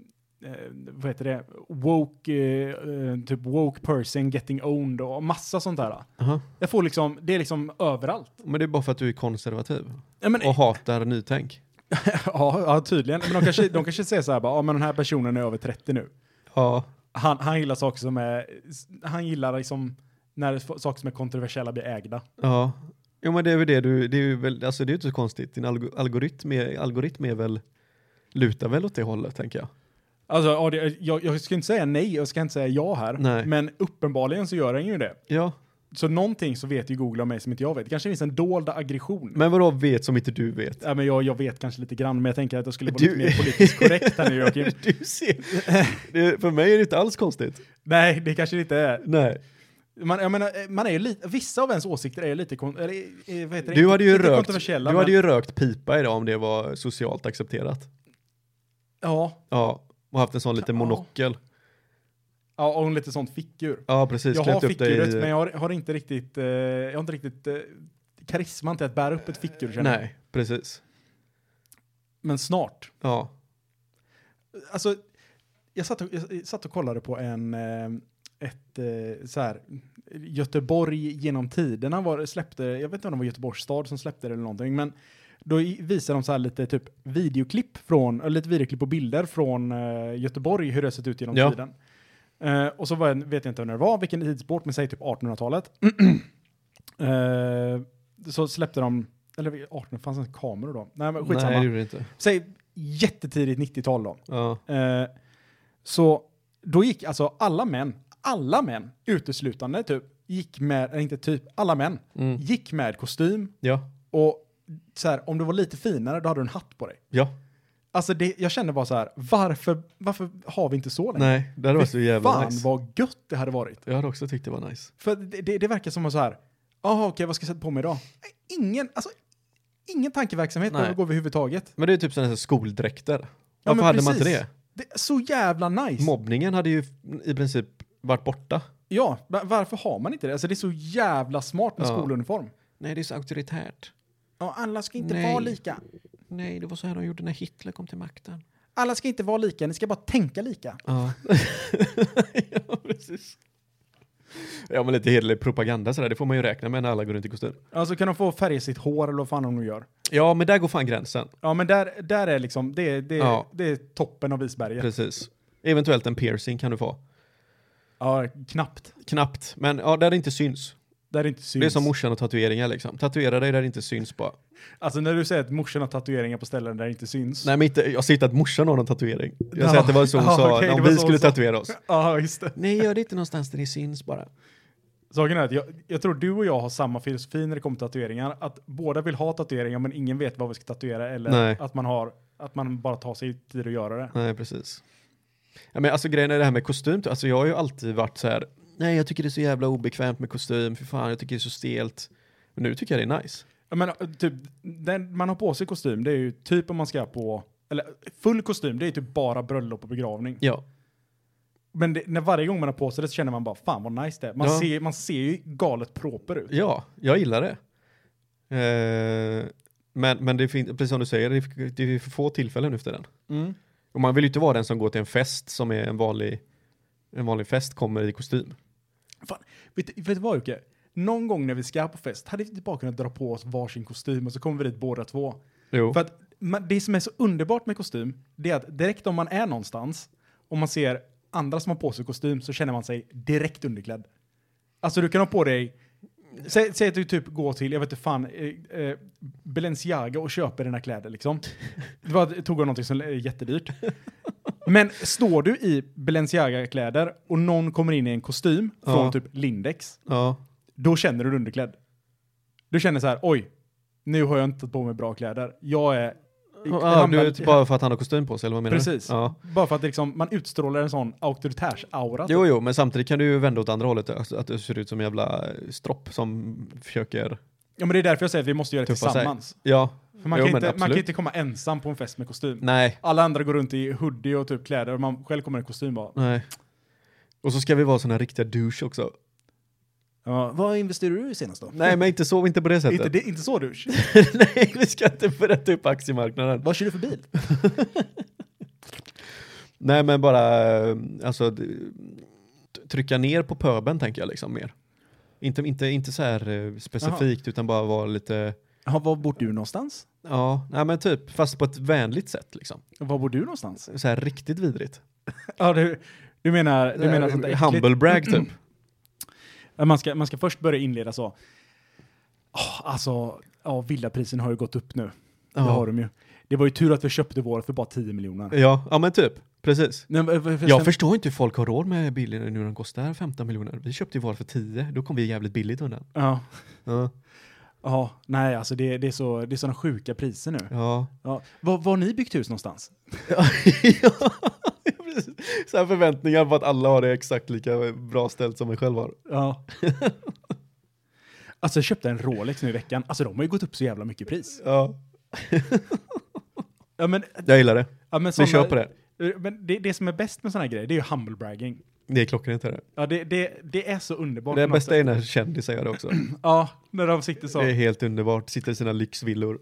Speaker 1: vad heter det, woke, eh, eh, typ woke person getting owned och massa sånt där.
Speaker 3: Aha.
Speaker 1: Jag får liksom, det är liksom överallt.
Speaker 3: Men det är bara för att du är konservativ
Speaker 1: Ja, men,
Speaker 3: och hatar nytänk.
Speaker 1: (laughs) ja, ja, tydligen. Men de kanske, de kanske säger så här bara, ja men den här personen är över 30 nu.
Speaker 3: Ja.
Speaker 1: Han, han gillar saker som är, han gillar liksom när saker som är kontroversiella blir ägda.
Speaker 3: Ja. Jo men det är väl det du, det är ju väl, alltså det är ju inte så konstigt. Din alg- algoritm, är, algoritm är väl, lutar väl åt det hållet tänker jag.
Speaker 1: Alltså, ja, det, jag, jag ska inte säga nej, jag ska inte säga ja här,
Speaker 3: Nej.
Speaker 1: men uppenbarligen så gör den ju det.
Speaker 3: Ja.
Speaker 1: Så någonting så vet ju Google om mig som inte jag vet. Det kanske finns en dold aggression.
Speaker 3: Men vadå vet som inte du vet?
Speaker 1: Ja, men jag, jag vet kanske lite grann, men jag tänker att jag skulle vara
Speaker 3: Du-
Speaker 1: lite mer politiskt korrekt här nu,
Speaker 3: (laughs)
Speaker 1: Joakim.
Speaker 3: Du ser. Det, för mig är det inte alls konstigt.
Speaker 1: Nej, det kanske det inte är.
Speaker 3: Nej.
Speaker 1: Man, jag menar, eh, man är ju lite, vissa av ens åsikter är ju lite, kon, eller, eh, vad heter det?
Speaker 3: Du hade ju,
Speaker 1: Inte
Speaker 3: rökt, du
Speaker 1: kontroversiella,
Speaker 3: hade
Speaker 1: men-
Speaker 3: ju rökt pipa idag om det var socialt accepterat.
Speaker 1: Ja,
Speaker 3: Ja. Och haft en sån liten
Speaker 1: Ja.
Speaker 3: monokel.
Speaker 1: ja, och lite sånt fickur.
Speaker 3: Ja precis.
Speaker 1: Jag har
Speaker 3: Klätt upp dig
Speaker 1: fickuret,
Speaker 3: i-
Speaker 1: men jag har, har inte riktigt, eh, jag har inte riktigt eh, karisman till att bära upp ett fickur, känner jag.
Speaker 3: Nej, precis.
Speaker 1: Men snart.
Speaker 3: Ja.
Speaker 1: alltså, jag satt, och, jag satt och kollade på en, eh, ett eh, så här, Göteborg genom tiderna var, det- släppte, jag vet inte om det var Göteborgs stad som släppte det eller någonting, men Då i- visar de så här lite typ videoklipp från, eller lite videoklipp och bilder från eh, Göteborg, hur det har sett ut genom
Speaker 3: Ja.
Speaker 1: tiden. Eh, och så var jag, vet jag inte när det var, vilken tidsbort, men säg typ 1800-talet. (clears throat) Eh, så släppte de, eller 1800, fanns det inte kameror då? Nej men skitsamma.
Speaker 3: Nej, det gjorde det inte.
Speaker 1: Säg jättetidigt 90-tal då.
Speaker 3: Ja.
Speaker 1: Eh, så då gick alltså alla män, alla män uteslutande typ, gick med, eller inte typ, alla män
Speaker 3: Mm.
Speaker 1: gick med kostym
Speaker 3: Ja.
Speaker 1: och så här, om du var lite finare då hade du en hatt på dig.
Speaker 3: Ja.
Speaker 1: Alltså det, jag kände bara så här, varför, varför har vi inte så länge?
Speaker 3: Nej, det hade varit så
Speaker 1: Fy
Speaker 3: jävla
Speaker 1: Fan
Speaker 3: nice.
Speaker 1: vad gött det hade varit.
Speaker 3: Jag hade också tyckt det var nice.
Speaker 1: För det, det, det verkar som att så här, jaha okej vad ska jag sätta på mig idag? Ingen, alltså ingen tankeverksamhet
Speaker 3: Nej.
Speaker 1: övergår överhuvudtaget.
Speaker 3: Men det är typ sådana här skoldräkter. Varför
Speaker 1: men
Speaker 3: hade man inte
Speaker 1: precis.
Speaker 3: det?
Speaker 1: Det är så jävla nice.
Speaker 3: Mobbningen hade ju i princip varit borta.
Speaker 1: Ja, va- varför har man inte det? Alltså det är så jävla smart med
Speaker 3: Ja.
Speaker 1: skoluniform.
Speaker 3: Nej, det är så auktoritärt.
Speaker 1: Ja, alla ska
Speaker 3: inte vara
Speaker 1: lika.
Speaker 3: Nej, det var så här de gjorde när Hitler kom till makten.
Speaker 1: Alla ska inte vara lika, ni ska bara tänka lika.
Speaker 3: (laughs) Ja. ja, precis. Ja, men lite hederlig propaganda sådär, det får man ju räkna med när alla går runt i kostym.
Speaker 1: Alltså kan de få färga sitt hår eller vad fan de nu gör.
Speaker 3: Ja, men där går fan gränsen.
Speaker 1: Ja, men där, där är liksom, det, är- det, är-
Speaker 3: Ja.
Speaker 1: det är toppen av isberget.
Speaker 3: Precis. Eventuellt en piercing kan du få.
Speaker 1: Ja, knappt.
Speaker 3: Knappt, men ja, där det inte syns.
Speaker 1: Där det inte syns.
Speaker 3: Det är som morsan och tatueringar liksom. Tatuera dig där det inte syns bara.
Speaker 1: Alltså när du säger att morsan har tatueringar på ställen där det inte syns.
Speaker 3: Nej men inte, jag säger inte att morsan har någon tatuering. Jag
Speaker 1: Ja.
Speaker 3: säger att det var så hon
Speaker 1: Ja,
Speaker 3: sa
Speaker 1: okej, det
Speaker 3: när
Speaker 1: var
Speaker 3: vi
Speaker 1: så
Speaker 3: skulle
Speaker 1: hon sa.
Speaker 3: tatuera oss.
Speaker 1: Ja, just det.
Speaker 3: Nej, gör det inte någonstans där det syns bara.
Speaker 1: Saken är att jag, jag tror du och jag har samma filosofi när det kommer till tatueringar. Att båda vill ha tatueringar men ingen vet vad vi ska tatuera eller
Speaker 3: Nej.
Speaker 1: att man har, att man bara tar sig tid att göra det.
Speaker 3: Nej, precis. Ja, men alltså grejen är det här med kostym, alltså jag har ju alltid varit så här. nej jag tycker det är så jävla obekvämt med kostym, för fan jag tycker det är så stelt. Men nu tycker jag det är nice.
Speaker 1: Ja, men eh, typ, den man har på sig kostym, det är ju typ om man ska på, eller full kostym, det är ju typ bara bröllop och begravning.
Speaker 3: Ja,
Speaker 1: Men det, när varje gång man har på sig det så känner man bara, fan vad nice det är. Man,
Speaker 3: Ja.
Speaker 1: ser, man ser ju galet proper ut.
Speaker 3: ja jag gillar det. Eh, men, men det finns, precis som du säger, det är- det är för få tillfällen nu efter den. Och man vill ju inte vara den som går till en fest som är en vanlig, en vanlig fest, kommer i kostym.
Speaker 1: Vet, du- vet du vad Jocke? Någon gång när vi ska på fest, hade vi inte bara kunnat dra på oss varsin kostym och så kommer vi dit båda två.
Speaker 3: Jo.
Speaker 1: För att man, det som är så underbart med kostym, det är att direkt om man är någonstans, om man ser andra som har på sig kostym så känner man sig direkt underklädd. Alltså du kan ha på dig, säg, säg att du typ går till, jag vet inte fan, eh, eh, Balenciaga och köper dina kläder liksom.
Speaker 3: (laughs)
Speaker 1: Det var, tog jag någonting som är jättedyrt. Men står du i Balenciaga-kläder och någon kommer in i en kostym från
Speaker 3: Ja.
Speaker 1: typ Lindex,
Speaker 3: Ja.
Speaker 1: då känner du dig underklädd. Du känner så här, oj, nu har jag inte tagit på mig bra kläder. Jag är...
Speaker 3: Ah, du,
Speaker 1: hamnar-
Speaker 3: är bara för att han har kostym på sig, eller vad menar
Speaker 1: Precis.
Speaker 3: du? Ja.
Speaker 1: Bara för att det liksom, man utstrålar en sån auktoritärs-aura.
Speaker 3: Jo, jo, men samtidigt kan du ju vända åt andra hållet, alltså, att du ser ut som en jävla stropp som försöker...
Speaker 1: Ja, men det är därför jag säger att vi måste göra det
Speaker 3: Tuffa sig.
Speaker 1: tillsammans.
Speaker 3: Ja,
Speaker 1: För man,
Speaker 3: Jo,
Speaker 1: kan
Speaker 3: men
Speaker 1: inte, man kan
Speaker 3: absolut.
Speaker 1: inte komma ensam på en fest med kostym.
Speaker 3: nej,
Speaker 1: Alla andra går runt i hoodie och typ kläder och man själv kommer i kostym bara.
Speaker 3: nej. Och så ska vi vara såna här riktiga douche också.
Speaker 1: Ja, vad investerar du i senast då?
Speaker 3: Nej, men inte så, inte på det sättet.
Speaker 1: Inte, det, inte så douche.
Speaker 3: (laughs) nej, vi ska inte berätta upp aktiemarknaden.
Speaker 1: vad kör du för bil?
Speaker 3: Nej, men bara, eh, alltså, d- t- trycka ner på pöben tänker jag liksom mer. Inte, inte, inte så här eh, specifikt, utan bara vara lite,
Speaker 1: Ja, var bor du någonstans?
Speaker 3: ja, nej men typ, fast på ett vänligt sätt liksom.
Speaker 1: Var bor du någonstans?
Speaker 3: Så här riktigt vidrigt.
Speaker 1: Ja, du, du menar, du menar sånt där äckligt- Mm.
Speaker 3: Humble brag typ.
Speaker 1: Ja, Äh, Man ska, man ska först börja inleda så. Oh, alltså, ja, villaprisen har ju gått upp nu. Det har de ju. Det var ju tur att vi köpte vår för bara 10 miljoner.
Speaker 3: Ja, ja men typ. Precis.
Speaker 1: Nej, men, eh, för- för-
Speaker 3: Jag
Speaker 1: sen-
Speaker 3: förstår inte hur folk har råd med bilen nu när de kostar 15 miljoner. Vi köpte ju var för 10, då kom vi jävligt billigt undan.
Speaker 1: Ja,
Speaker 3: Ja.
Speaker 1: ja, nej alltså det, det är så- det är sådana sjuka priser nu.
Speaker 3: Ja. (laughs)
Speaker 1: Ja. Var, var har ni byggt hus någonstans?
Speaker 3: ja. precis. så här förväntningar på att alla har det exakt lika bra ställt som en själv har.
Speaker 1: Ja. (laughs) alltså jag köpte en Rolex nu i veckan. Alltså de har ju gått upp så jävla mycket i pris.
Speaker 3: Ja.
Speaker 1: Ja men,
Speaker 3: Jag gillar det.
Speaker 1: ja, men
Speaker 3: Vi
Speaker 1: såna- Eh,
Speaker 3: kör på det.
Speaker 1: Men det, det som är bäst med sådana grejer, det är ju humble bragging.
Speaker 3: Det är klockrent. är Det,
Speaker 1: Ja, det, det, det är så underbart.
Speaker 3: det
Speaker 1: på något
Speaker 3: bästa är när kändisar gör det också.
Speaker 1: sätt. Ja, när de sitter (clears throat) så.
Speaker 3: Det är helt underbart. Sitter i sina lyxvillor.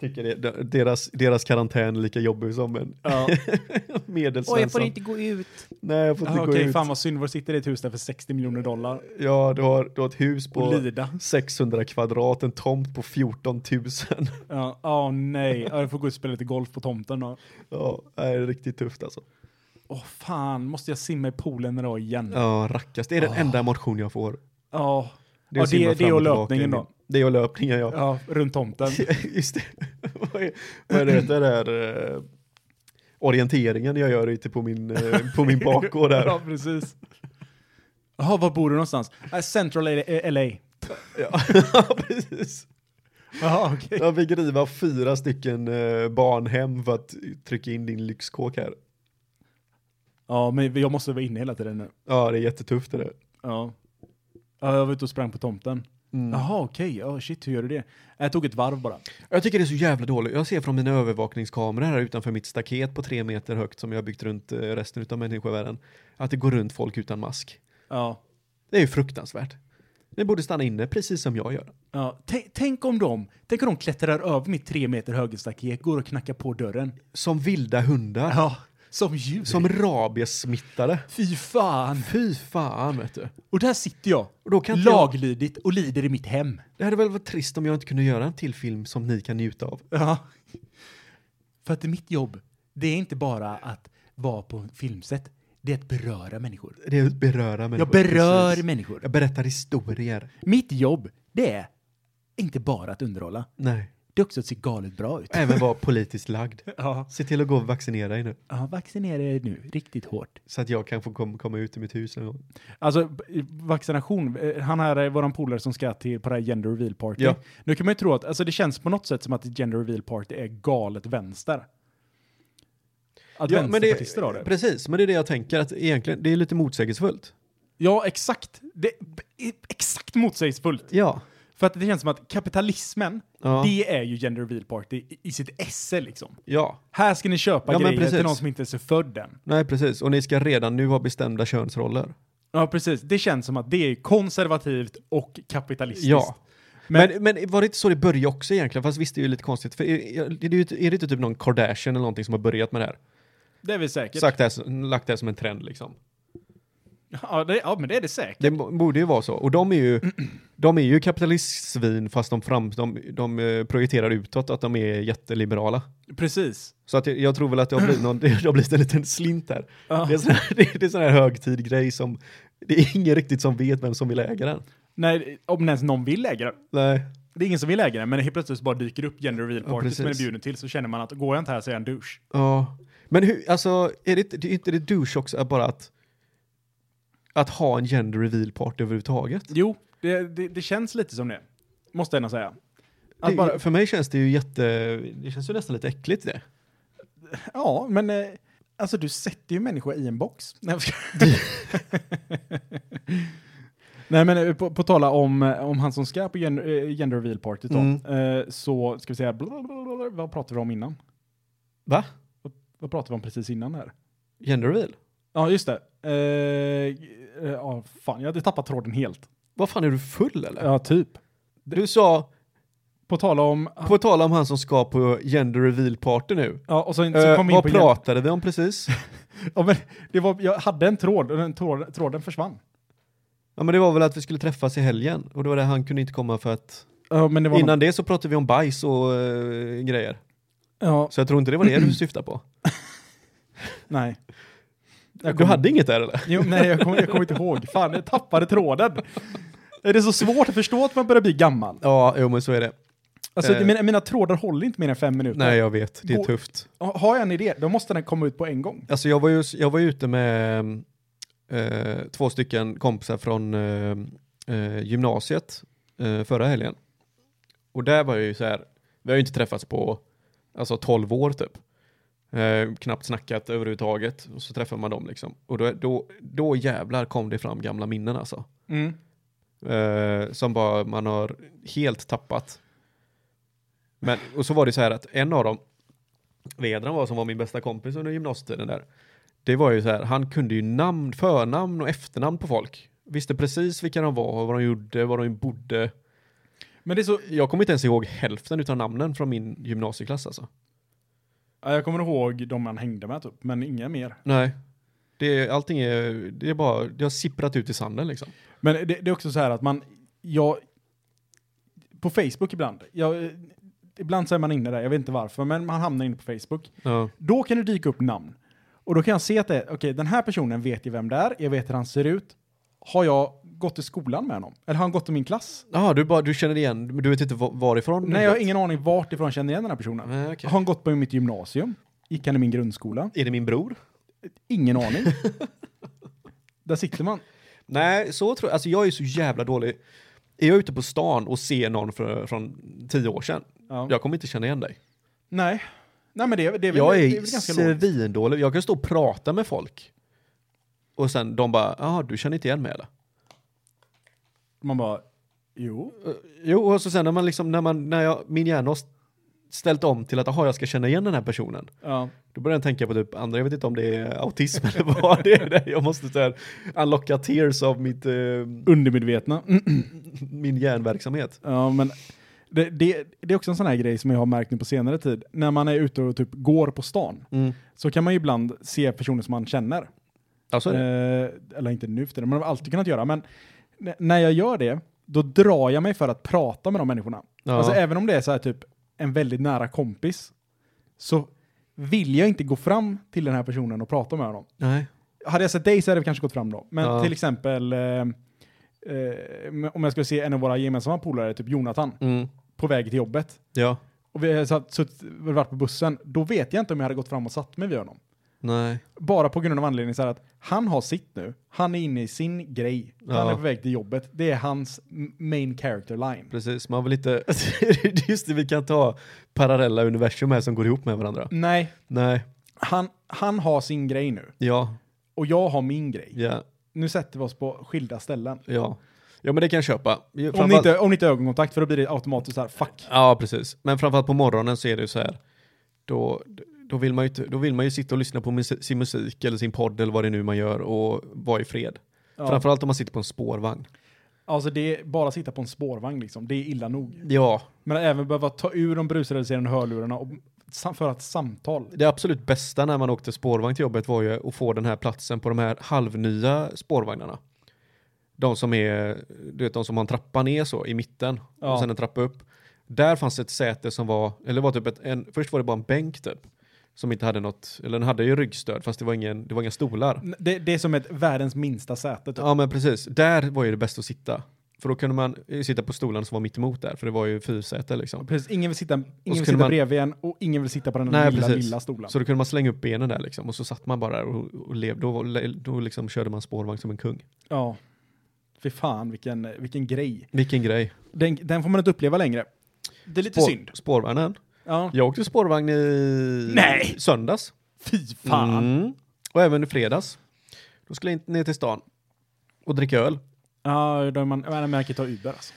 Speaker 3: tycker det, de- deras, deras karantän är lika jobbig som en
Speaker 1: Ja.
Speaker 4: Oj, jag
Speaker 3: medelsvensson.
Speaker 4: får inte gå ut.
Speaker 3: Nej, jag får inte
Speaker 1: Ah, Okej,
Speaker 3: gå ut.
Speaker 1: fan vad synd. Var sitter i ett hus där för 60 miljoner dollar
Speaker 3: Ja, du har, du har ett hus
Speaker 1: och
Speaker 3: på
Speaker 1: lida?
Speaker 3: 600 kvadrat, en tomt på 14 000.
Speaker 1: Ja, åh nej. Ja, Jag får gå ut och spela lite golf på tomten då.
Speaker 3: (laughs) Ja, det är riktigt tufft alltså.
Speaker 1: Åh fan, måste jag simma i poolen idag igen? Ja.
Speaker 3: Ja, rackars. Det är den enda motion jag får.
Speaker 1: Ah. Ja,
Speaker 3: att
Speaker 1: det-
Speaker 3: simma
Speaker 1: det
Speaker 3: fram
Speaker 1: och
Speaker 3: tillbaka
Speaker 1: löpningen
Speaker 3: i min-
Speaker 1: då.
Speaker 3: Det är och löpningen, ja.
Speaker 1: ja, runt
Speaker 3: (laughs)
Speaker 1: tomten.
Speaker 3: Just det. vad är, vad är det heter det där? eh, orienteringen jag gör ute på min, eh, på min bakgård
Speaker 1: (laughs)
Speaker 3: där.
Speaker 1: Ja, precis. Jaha, var bor du någonstans? Äh, Central LA. LA.
Speaker 3: Ja, (laughs) precis.
Speaker 1: Jaha, okej.
Speaker 3: Jag fick riva fyra stycken eh, barnhem för att trycka in din lyxkåk här.
Speaker 1: Ja, men jag måste vara inne hela tiden nu.
Speaker 3: Ja, det är jättetufft det där.
Speaker 1: Ja. ja jag var ute och sprang på tomten.
Speaker 3: Mm.
Speaker 1: Jaha, okej. Ja, shit, hur gör du det? Jag tog ett varv bara.
Speaker 3: Jag tycker det är så jävla dåligt. Jag ser från mina övervakningskameror här utanför mitt staket på tre meter högt som jag har byggt runt eh, resten av människovärlden att det går runt folk utan mask.
Speaker 1: Ja.
Speaker 3: Det är ju fruktansvärt. Ni borde stanna inne precis som jag gör.
Speaker 1: ja. Tänk- Tänk om de, tänk om de klättrar över mitt tre meter höga staket, går och knackar på dörren.
Speaker 3: Som vilda hundar.
Speaker 1: Ja, som djur.
Speaker 3: Som rabiessmittade.
Speaker 1: Fy fan.
Speaker 3: Fy fan vet du.
Speaker 1: Och där sitter jag,
Speaker 3: Och då kan inte jag,
Speaker 1: laglydigt och lider i mitt hem.
Speaker 3: det hade väl varit trist om jag inte kunde göra en till film som ni kan njuta av.
Speaker 1: Ja. För att mitt jobb, det är inte bara att vara på filmset, det är att beröra människor.
Speaker 3: Det är att beröra människor.
Speaker 1: Jag berör
Speaker 3: precis.
Speaker 1: människor.
Speaker 3: Jag berättar historier.
Speaker 1: Mitt jobb, det är inte bara att underhålla,
Speaker 3: Nej.
Speaker 1: det är också att se galet bra ut.
Speaker 3: Även vara politiskt lagd.
Speaker 1: Ja,
Speaker 3: Se till att gå och vaccinera dig nu.
Speaker 1: ja vaccinera er nu, riktigt hårt.
Speaker 3: Så att jag kan få kom, komma ut i mitt hus någon gång.
Speaker 1: Alltså, b- vaccination, eh, han här är våran polare som ska till på det här gender reveal party.
Speaker 3: Ja.
Speaker 1: Nu kan man ju tro att, alltså det känns på något sätt som att gender reveal party är galet vänster. Att
Speaker 3: Ja, men
Speaker 1: vänsterpartister har det.
Speaker 3: Precis, men det är det jag tänker att egentligen, det är lite motsägelsefullt.
Speaker 1: Ja, exakt. Det är exakt motsägelsefullt.
Speaker 3: Ja.
Speaker 1: För att det känns som att kapitalismen,
Speaker 3: Ja.
Speaker 1: det är ju gender reveal party i- i sitt esse liksom.
Speaker 3: Ja.
Speaker 1: Här ska ni köpa
Speaker 3: Ja, men
Speaker 1: grejer till
Speaker 3: precis.
Speaker 1: någon som inte är så född än.
Speaker 3: Nej, precis. Och ni ska redan nu ha bestämda könsroller.
Speaker 1: Ja, precis. Det känns som att det är konservativt och kapitalistiskt.
Speaker 3: Ja.
Speaker 1: Men-
Speaker 3: Men, men, var det inte så det började också egentligen? Fast visst, det är ju lite konstigt. För är, är det, ju- är det inte typ någon Kardashian eller någonting som har börjat med det här?
Speaker 1: Det är väl säkert.
Speaker 3: Sagt det här, som- lagt det här som en trend liksom.
Speaker 1: Ja, det, ja, men det är det säkert.
Speaker 3: Det b- borde ju vara så. Och de är ju, (clears throat) de är ju kapitalistsvin fast de, fram, de, de eh, projicerar utåt att de är jätteliberala.
Speaker 1: Precis.
Speaker 3: Så att jag, jag tror väl att det har blivit, någon, det har blivit en liten slint där.
Speaker 1: Ja.
Speaker 3: Det är sån här, (laughs) det, det är sån här högtidgrej som det är ingen riktigt som vet vem som vill äga den.
Speaker 1: Nej, om ens någon vill äga den.
Speaker 3: Nej.
Speaker 1: Det är ingen som vill äga den, men helt plötsligt så bara dyker det upp gender reveal
Speaker 3: Ja,
Speaker 1: party som man är
Speaker 3: precis.
Speaker 1: bjuden till, så känner man att går jag inte här så är jag en douche.
Speaker 3: Ja. Men hur, alltså, är det, inte- det är inte det douche också att bara att att ha en gender reveal part överhuvudtaget?
Speaker 1: Jo, det, det, det känns lite som det. Måste jag ändå säga. Att
Speaker 3: Det,
Speaker 1: bara-
Speaker 3: För mig känns det ju jätte, det känns ju nästan lite äckligt det.
Speaker 1: Ja, men eh, alltså du sätter ju människor i en box. (laughs) Nej, jag skojar. Nej men eh, på, på tala om, eh, om han som ska på gen, eh, gender reveal party då,
Speaker 3: Mm.
Speaker 1: eh, så ska vi säga, bla, bla, bla, bla, vad pratade vi om innan?
Speaker 3: Va?
Speaker 1: Vad pratade vi om precis innan här?
Speaker 3: Gender reveal?
Speaker 1: Ja, just det. Eh, eh, ja, fan, jag hade tappat tråden helt.
Speaker 3: Vad fan är du full eller?
Speaker 1: Ja, typ.
Speaker 3: Du sa,
Speaker 1: På tala om,
Speaker 3: på tal om han som ska på gender reveal party nu.
Speaker 1: ja, och sen så
Speaker 3: Eh,
Speaker 1: kom vi in
Speaker 3: vad
Speaker 1: på... gen-
Speaker 3: pratade vi om precis?
Speaker 1: Ja, men det var, jag hade en tråd och den tråden, tråden försvann.
Speaker 3: Ja men det var väl att vi skulle träffas i helgen och då var det han kunde inte komma för att
Speaker 1: Ja, men det var
Speaker 3: innan det så pratade vi om bajs och eh, grejer.
Speaker 1: någon- ja,
Speaker 3: Så jag tror inte det var det du syftade på.
Speaker 1: nej. Jag
Speaker 3: Du
Speaker 1: kommer-
Speaker 3: hade inget där eller?
Speaker 1: Jo, nej, jag kommer jag kommer inte ihåg. Fan, jag tappade tråden. Är det så svårt att förstå att man börjar bli gammal?
Speaker 3: Ja, jo men så är det.
Speaker 1: Alltså,
Speaker 3: Eh.
Speaker 1: mina, mina trådar håller inte mer än fem minuter.
Speaker 3: Nej jag vet, det är
Speaker 1: Gå-
Speaker 3: tufft.
Speaker 1: Ha- Har jag en idé, då måste den komma ut på en gång.
Speaker 3: Alltså jag var ju, jag var ju ute med eh, två stycken kompisar från eh, eh, gymnasiet eh, förra helgen. Och där var jag ju så här, vi har ju inte träffats på alltså 12 år typ. Eh, knappt snackat överhuvudtaget. Och så träffar man dem liksom. Och då, då, då jävlar kom det fram gamla minnen alltså.
Speaker 1: Mm.
Speaker 3: Eh, som bara man har helt tappat. Men, och så var det så här att en av dem, Vedran var som var min bästa kompis under gymnasietiden där. Det var ju så här, han kunde ju namn, förnamn och efternamn på folk. Visste precis vilka de var, vad de gjorde, var de bodde.
Speaker 1: Men det är så,
Speaker 3: Jag kommer inte ens ihåg hälften utav namnen från min gymnasieklass alltså.
Speaker 1: ja, jag kommer ihåg de man hängde med typ, men inga mer.
Speaker 3: Nej. Det är, allting är, det är bara, det har sipprat ut i sanden liksom.
Speaker 1: Men det, det är också så här att man, jag, på Facebook ibland, jag, ibland så är man inne där, jag vet inte varför, men man hamnar inne på Facebook.
Speaker 3: Ja.
Speaker 1: Då kan det dyka upp namn. Och då kan jag se att det, okej, den här personen vet ju vem det är, jag vet hur han ser ut. Har jag gått i skolan med honom? Eller har han gått i min klass?
Speaker 3: Jaha, du, bara, du känner igen, men du vet inte va- varifrån?
Speaker 1: Nej, jag har ingen aning vart ifrån jag känner igen den här personen.
Speaker 3: Nej, okej.
Speaker 1: Har han gått på mitt gymnasium? Gick han i min grundskola?
Speaker 3: Är det min bror?
Speaker 1: Ingen
Speaker 3: (laughs)
Speaker 1: aning. där sitter man.
Speaker 3: Nej, så tror jag. Alltså jag är ju så jävla dålig. Är jag ute på stan och ser någon från, från tio år sedan,
Speaker 1: Ja.
Speaker 3: jag kommer inte känna igen dig.
Speaker 1: Nej. Nej, men det, är- det är väl,
Speaker 3: Jag
Speaker 1: det
Speaker 3: är
Speaker 1: väl ganska lågt.
Speaker 3: svindålig. Jag kan stå och prata med folk. Och sen de bara, jaha, du känner inte igen mig eller?
Speaker 1: Man bara, jo.
Speaker 3: Eh, Jo, och så sen när man liksom, när man, när jag, min hjärna har ställt om till att, jaha, jag ska känna igen den här personen.
Speaker 1: Ja.
Speaker 3: Då börjar jag tänka på typ andra, jag vet inte om det är autism (laughs) eller vad det är. där. Jag måste så här unlocka tears av mitt, eh,
Speaker 1: Undermedvetna. Mm.
Speaker 3: min hjärnverksamhet.
Speaker 1: Ja, men det, det, det är också en sån här grej som jag har märkt nu på senare tid. När man är ute och typ går på stan så kan man ju ibland se personer som man känner.
Speaker 3: Alltså,
Speaker 1: Eh, eller inte nu för tiden, man har alltid kunnat göra. Men n- när jag gör det, då drar jag mig för att prata med de människorna.
Speaker 3: Ja.
Speaker 1: Alltså även om det är så här typ en väldigt nära kompis så vill jag inte gå fram till den här personen och prata med honom.
Speaker 3: nej.
Speaker 1: Hade jag sett dig så hade vi kanske gått fram då. Men
Speaker 3: Ja.
Speaker 1: till exempel eh, eh, om jag skulle se en av våra gemensamma polare, typ Jonathan,
Speaker 3: Mm.
Speaker 1: på väg till jobbet
Speaker 3: Ja.
Speaker 1: och vi hade satt, suttit, varit på bussen, då vet jag inte om jag hade gått fram och satt mig vid honom.
Speaker 3: Nej.
Speaker 1: Bara på grund av anledningen så här att han har sitt nu. Han är inne i sin grej. Han
Speaker 3: Ja.
Speaker 1: är på väg till jobbet. Det är hans m- main character line.
Speaker 3: Precis, man vill inte... (laughs) Just det, vi kan ta parallella universum här som går ihop med varandra.
Speaker 1: Nej,
Speaker 3: Nej,
Speaker 1: han, han har sin grej nu.
Speaker 3: ja,
Speaker 1: Och jag har min grej.
Speaker 3: ja,
Speaker 1: Nu sätter vi oss på skilda ställen.
Speaker 3: ja. Ja, men det kan jag köpa. Ju-
Speaker 1: Om
Speaker 3: framförallt-
Speaker 1: ni, inte, om ni inte har ögonkontakt, för då blir det automatiskt så här, fuck.
Speaker 3: Ja, precis. Men framförallt på morgonen så är det ju så här, då, då, vill man ju, inte- då vill man ju sitta och lyssna på mus- sin musik eller sin podd eller vad det är nu man gör och vara i fred.
Speaker 1: Ja.
Speaker 3: Framförallt om man sitter på en spårvagn.
Speaker 1: Alltså det är bara att sitta på en spårvagn liksom. Det är illa nog.
Speaker 3: Ja,
Speaker 1: Men att även behöva ta ur de brusreducerande hörlurarna och, sam- för att samtal.
Speaker 3: det absolut bästa när man åkte spårvagn till jobbet var ju att få den här platsen på de här halvnya spårvagnarna. De som är, du vet de som har en trappa ner så i mitten
Speaker 1: Ja.
Speaker 3: och sen en trappa upp. Där fanns ett säte som var, eller det var typ ett, en, först var det bara en bänk typ. Som inte hade något, eller den hade ju ryggstöd fast det var, ingen, det var inga stolar.
Speaker 1: N- Det, det är som ett världens minsta säte. Typ.
Speaker 3: Ja men precis, där var ju det bästa att sitta. För då kunde man eh, sitta på stolarna som var mitt emot där, för det var ju fyrsäte liksom.
Speaker 1: Precis, ingen vill sitta, ingen
Speaker 3: så
Speaker 1: vill
Speaker 3: kunde
Speaker 1: sitta
Speaker 3: man-
Speaker 1: bredvid en och ingen vill sitta på den
Speaker 3: Nej,
Speaker 1: lilla,
Speaker 3: precis.
Speaker 1: lilla stolen.
Speaker 3: Så då kunde man slänga upp benen där liksom och så satt man bara där och, och levde. Då, var- då liksom körde man spårvagn som en kung.
Speaker 1: Ja. Fy fan, vilken, vilken grej.
Speaker 3: Vilken grej.
Speaker 1: Den, den får man inte uppleva längre. Det är lite
Speaker 3: Spår-
Speaker 1: synd.
Speaker 3: Spårvagnen.
Speaker 1: Ja.
Speaker 3: Jag åkte spårvagn i
Speaker 1: Nej!
Speaker 3: söndags.
Speaker 1: Fy fan.
Speaker 3: Mm. Och även i fredags. Då skulle jag inte ner till stan och dricka öl.
Speaker 1: Ja, då är man, man märker ta Uber alltså.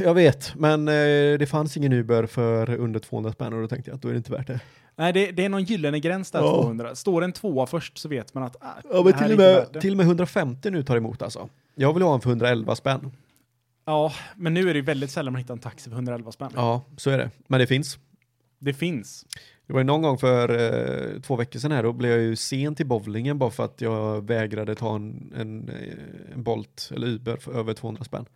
Speaker 3: Jag vet, men eh, det fanns ingen Uber för under 200 spänn och då tänkte jag att då är det inte värt det.
Speaker 1: Nej, det, det är någon gyllene gräns där,
Speaker 3: Ja.
Speaker 1: 200. Står en tvåa först så vet man att ah,
Speaker 3: Ja,
Speaker 1: det
Speaker 3: men
Speaker 1: här
Speaker 3: till och,
Speaker 1: är inte värt det.
Speaker 3: med, till och med 150 nu tar emot alltså. Jag vill ha en för 111 spänn.
Speaker 1: Ja, men nu är det ju väldigt sällan man hittar en taxi för 111 spänn.
Speaker 3: Ja, så är det. Men det finns.
Speaker 1: Det finns.
Speaker 3: Det var ju någon gång för eh, två veckor sedan här, då blev jag ju sen till bowlingen bara för att jag vägrade ta en, en, eh, en Bolt eller Uber för över 200 spänn.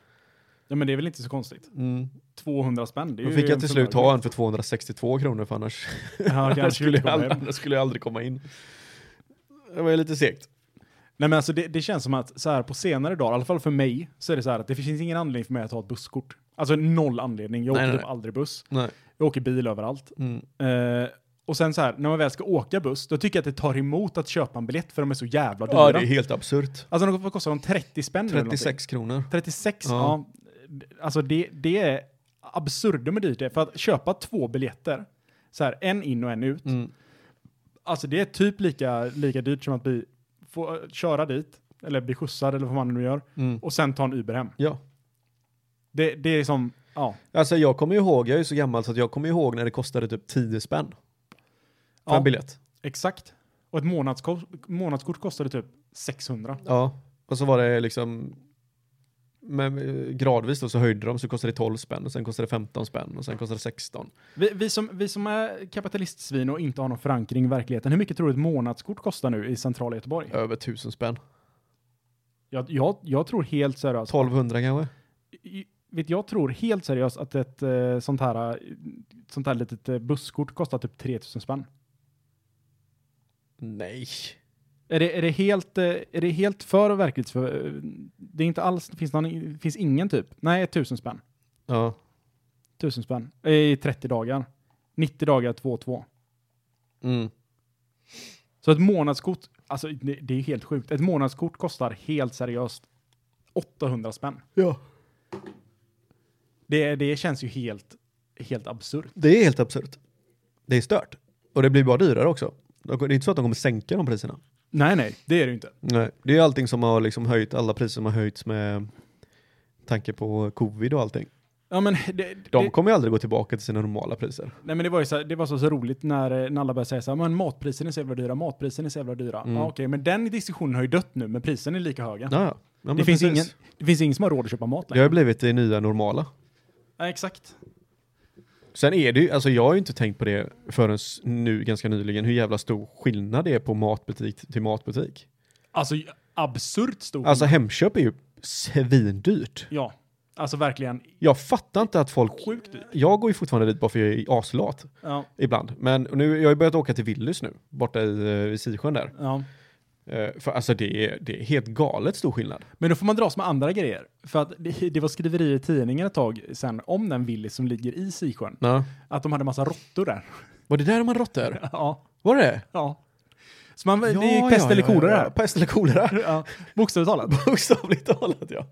Speaker 1: Ja, men det är väl inte så konstigt.
Speaker 3: Mm.
Speaker 1: 200 spänn, det är
Speaker 3: Då
Speaker 1: ju
Speaker 3: fick jag
Speaker 1: en
Speaker 3: till slut ta en för 262 kronor för annars,
Speaker 1: Ja,
Speaker 3: (laughs) annars,
Speaker 1: kanske
Speaker 3: skulle,
Speaker 1: skulle
Speaker 3: jag,
Speaker 1: komma
Speaker 3: aldrig-
Speaker 1: hem.
Speaker 3: annars skulle jag aldrig komma in. Det var ju lite segt.
Speaker 1: Nej, men alltså det, det känns som att så här på senare dagar, i alla fall för mig, så är det så här att det finns ingen anledning för mig att ta ett busskort. Alltså noll anledning. Jag
Speaker 3: Nej,
Speaker 1: åker
Speaker 3: nej,
Speaker 1: typ
Speaker 3: nej.
Speaker 1: aldrig buss.
Speaker 3: Nej.
Speaker 1: Jag åker bil överallt.
Speaker 3: Mm.
Speaker 1: Eh, och sen så här, när man väl ska åka buss, då tycker jag att det tar emot att köpa en biljett för de är så jävla dyra.
Speaker 3: Ja, det är helt absurt.
Speaker 1: Alltså de- vad kostar de? 30 spänn nu eller någonting?
Speaker 3: 36 kronor.
Speaker 1: 36, ja.
Speaker 3: Ja.
Speaker 1: Alltså det, det är absurdum med dyrt det är. För att köpa två biljetter, så här, en in och en ut,
Speaker 3: Mm.
Speaker 1: Alltså det är typ lika, lika dyrt som att bli, få, eh, köra dit, eller bli skjutsad eller vad man nu gör,
Speaker 3: Mm.
Speaker 1: och sen ta en Uber hem.
Speaker 3: Ja.
Speaker 1: Det, det är som, ja.
Speaker 3: Alltså jag kommer ju ihåg, jag är ju så gammal så att jag kommer ihåg när det kostade typ 10 spänn för
Speaker 1: ja
Speaker 3: en biljett.
Speaker 1: exakt. Och ett månadskort, månadskort kostade typ 600.
Speaker 3: Ja. Och så var det liksom men eh, gradvis då så höjde de så kostade det 12 spänn och sen kostade det 15 spänn och sen kostade det 16.
Speaker 1: Vi, vi, som, vi som är kapitalistsvin och inte har någon förankring i verkligheten, hur mycket tror du ett månadskort kostar nu i centrala Göteborg?
Speaker 3: Över 1000 spänn.
Speaker 1: Jag, jag, jag tror helt seriöst.
Speaker 3: 1200 kanske?
Speaker 1: I- Vet, jag tror helt seriöst att ett eh, sånt, här, eh, sånt här litet eh, busskort kostar typ 3000 spänn.
Speaker 3: Nej.
Speaker 1: Är det, är det, helt, eh, är det helt för verkligt? För, eh, det är inte alls, finns, någon, finns ingen typ. Nej, 1000 spänn.
Speaker 3: Ja.
Speaker 1: 1000 spänn. Eh, I 30 dagar. 90 dagar, 2-2.
Speaker 3: Mm.
Speaker 1: Så ett månadskort, alltså det, det är helt sjukt. Ett månadskort kostar helt seriöst 800 spänn.
Speaker 3: ja.
Speaker 1: Det, det känns ju helt, helt absurt.
Speaker 3: Det är helt absurt. Det är stört. Och det blir bara dyrare också. De- Det är inte så att de kommer sänka de priserna.
Speaker 1: Nej, nej, det är det ju inte.
Speaker 3: Nej. Det är allting som har liksom höjt, alla priser som har höjts med tanke på covid och allting.
Speaker 1: Ja, men det,
Speaker 3: De
Speaker 1: det,
Speaker 3: kommer ju aldrig gå tillbaka till sina normala priser.
Speaker 1: nej, men det var ju så, här, det var så, så roligt när, eh, när alla började säga så här, men matpriserna är så jävla dyra, matpriserna är så jävla dyra.
Speaker 3: Mm.
Speaker 1: Ja, okej, men den diskussionen har ju dött nu, men priserna är lika höga.
Speaker 3: Ja, ja. ja men
Speaker 1: det, finns
Speaker 3: precis.
Speaker 1: ingen, det finns ingen som har råd att köpa mat
Speaker 3: Det
Speaker 1: längre.
Speaker 3: har blivit det nya normala.
Speaker 1: Nej, exakt.
Speaker 3: Sen är det ju, alltså jag har ju inte tänkt på det förrän nu ganska nyligen, hur jävla stor skillnad det är på matbutik till matbutik.
Speaker 1: Alltså, absurt stor.
Speaker 3: Alltså Hemköp är ju svindyrt.
Speaker 1: ja, alltså verkligen
Speaker 3: Jag fattar inte att folk,
Speaker 1: sjukt dyrt.
Speaker 3: jag går ju fortfarande dit bara för jag är aslat
Speaker 1: Ja,
Speaker 3: ibland. Men nu, jag har ju börjat åka till Willys nu, borta i, eh, i Sisjön där.
Speaker 1: ja.
Speaker 3: Eh, För alltså det är, det är helt galet stor skillnad.
Speaker 1: Men då får man dras med andra grejer. För att det, det var skriverier i tidningen ett tag sen om den Willys som ligger i Sisjön.
Speaker 3: Ja.
Speaker 1: Att de hade massa råttor där. (laughs)
Speaker 3: Var det där man råttor?
Speaker 1: ja,
Speaker 3: Var det
Speaker 1: ja. Så man, det är ju pest eller kolera
Speaker 3: ja, ja. Pest eller kolera. (laughs)
Speaker 1: här. Ja, bokstavligt talat.
Speaker 3: Bokstavligt talat ja.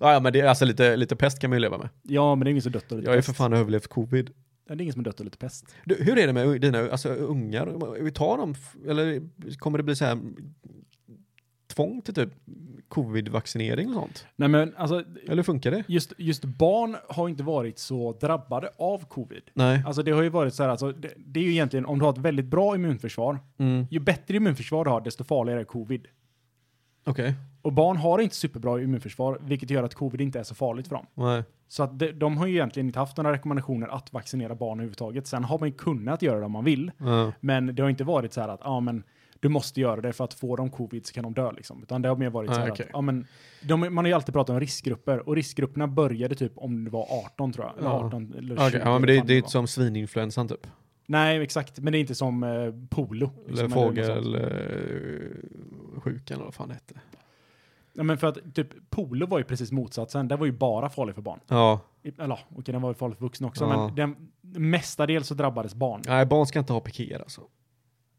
Speaker 3: ja. Ja men det är alltså lite, lite pest kan man ju leva med.
Speaker 1: Ja, men det är ingen som dött av lite
Speaker 3: Jag har ju
Speaker 1: pest.
Speaker 3: för fan överlevt covid.
Speaker 1: Ja, Det är ingen som har dött av lite pest.
Speaker 3: Du, hur är det med dina alltså, ungar? Vi tar dem, f- eller kommer det bli så här tvång till typ covid-vaccinering och sånt?
Speaker 1: Nej, men alltså,
Speaker 3: Eller hur funkar det?
Speaker 1: just, just barn har inte varit så drabbade av covid.
Speaker 3: Nej.
Speaker 1: Alltså det har ju varit så här, alltså, det, det är ju egentligen om du har ett väldigt bra immunförsvar,
Speaker 3: Mm.
Speaker 1: ju bättre immunförsvar du har, desto farligare är covid.
Speaker 3: Okej.
Speaker 1: Och barn har inte superbra immunförsvar, vilket gör att covid inte är så farligt för dem.
Speaker 3: Nej.
Speaker 1: Så att de, de har ju egentligen inte haft några rekommendationer att vaccinera barn överhuvudtaget. Sen har man ju kunnat göra det om man vill,
Speaker 3: Ja.
Speaker 1: men det har inte varit så här att ja, men du måste göra det för att få dem covid så kan de dö liksom. Utan det har mer varit så
Speaker 3: Ah,
Speaker 1: här
Speaker 3: okej.
Speaker 1: att, ja men, de, man har ju alltid pratat om riskgrupper och riskgrupperna började typ om det var 18 tror jag. Eller
Speaker 3: Ja.
Speaker 1: 18 eller 20.
Speaker 3: Okej, Ja, men
Speaker 1: eller
Speaker 3: det,
Speaker 1: vad fan
Speaker 3: det är inte
Speaker 1: var.
Speaker 3: som svininfluensan typ?
Speaker 1: Nej, exakt. Men det är inte som eh, polo. liksom,
Speaker 3: Eller
Speaker 1: något sånt.
Speaker 3: fågelsjukan eller vad fan det hette.
Speaker 1: Ja, men för att typ polo var ju precis motsatsen. Det var ju bara farlig för barn.
Speaker 3: Ja.
Speaker 1: I- Eller ja, okej, den var ju farlig för vuxna också,
Speaker 3: Ja.
Speaker 1: men den mestadels så drabbades barn.
Speaker 3: Nej, barn ska inte ha pikéer alltså.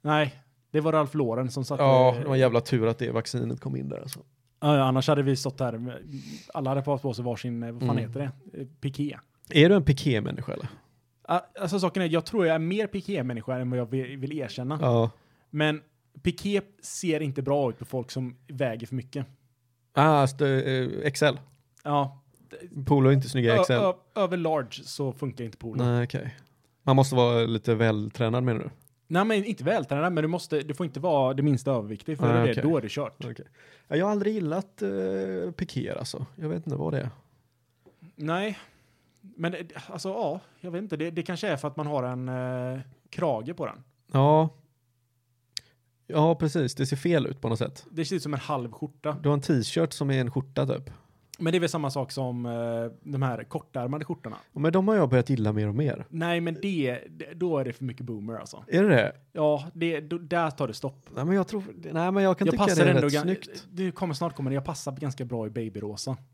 Speaker 1: Nej, det var Ralf Lauren som satte...
Speaker 3: Ja, det var en jävla tur att det vaccinet kom in där alltså.
Speaker 1: Ja, ja, annars hade vi stått där, med- alla hade haft på sig varsin, eh, vad fan
Speaker 3: Mm.
Speaker 1: heter det? Eh, Piké.
Speaker 3: Är du en pikémänniska eller?
Speaker 1: Ah, Alltså saken är, jag tror jag är mer piké-människa än vad jag vill vill erkänna.
Speaker 3: Ja.
Speaker 1: Men piké ser inte bra ut på folk som väger för mycket.
Speaker 3: Ah, stö- eh, XL.
Speaker 1: Ja,
Speaker 3: Polo är inte snygga i XL.
Speaker 1: ö- ö- över large så funkar inte polo. Nej.
Speaker 3: Nej, okej. Man måste vara lite vältränad menar du?
Speaker 1: men inte vältränad, men du, måste, du får inte vara det minsta överviktig, för är
Speaker 3: Nej,
Speaker 1: du
Speaker 3: Ah, okej.
Speaker 1: det, då är det kört.
Speaker 3: Okej. Ja, Jag har aldrig gillat uh, pikéer alltså. Jag vet inte vad det är.
Speaker 1: Nej, men det- alltså ja, jag vet inte. Det, det kanske är för att man har en eh, krage på den.
Speaker 3: Ja. Ja, precis. Det ser fel ut på något sätt.
Speaker 1: Det ser ut som en halv skjorta.
Speaker 3: Du har en t-shirt som är en skjorta typ.
Speaker 1: Men det är väl samma sak som eh, de här kortärmade skjortorna.
Speaker 3: Ja, Men de har jag börjat gilla mer och mer.
Speaker 1: Nej, men det, det, då är det för mycket boomer alltså.
Speaker 3: Är det det?
Speaker 1: Ja, det, då, där tar det stopp.
Speaker 3: Nej, men jag tror... Nej, men jag kan
Speaker 1: Jag
Speaker 3: tycka
Speaker 1: passar
Speaker 3: det är
Speaker 1: ändå
Speaker 3: rätt
Speaker 1: gan-
Speaker 3: snyggt.
Speaker 1: Det kommer snart kommer det. Jag passar ganska bra i babyrosa.
Speaker 3: (laughs)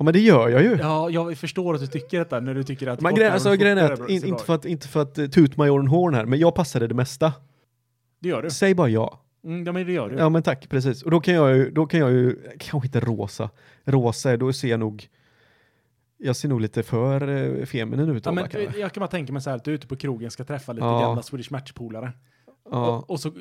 Speaker 3: Ja, men det gör jag ju.
Speaker 1: Ja, jag förstår att du tycker detta när du tycker att...
Speaker 3: Men grejen, alltså,
Speaker 1: kortärmade
Speaker 3: grejen är
Speaker 1: skjortor
Speaker 3: att,
Speaker 1: bra-
Speaker 3: in,
Speaker 1: ser bra
Speaker 3: inte,
Speaker 1: ut.
Speaker 3: för att, inte för att eh, toot my own horn här, men jag passade det mesta.
Speaker 1: Det gör du.
Speaker 3: Säg bara ja.
Speaker 1: Mm, ja, men det gör du.
Speaker 3: Ja men tack, precis. Och då kan jag ju, då kan jag ju, eh, kanske inte rosa, rosa, då ser jag nog, jag ser nog lite för eh, feminin ut.
Speaker 1: Ja,
Speaker 3: då,
Speaker 1: men, eh,
Speaker 3: va, kanske.
Speaker 1: jag kan bara tänka mig så här att du är ute på krogen ska träffa lite
Speaker 3: Ja.
Speaker 1: gamla Swedish Match-polare.
Speaker 3: ja.
Speaker 1: Och, och så,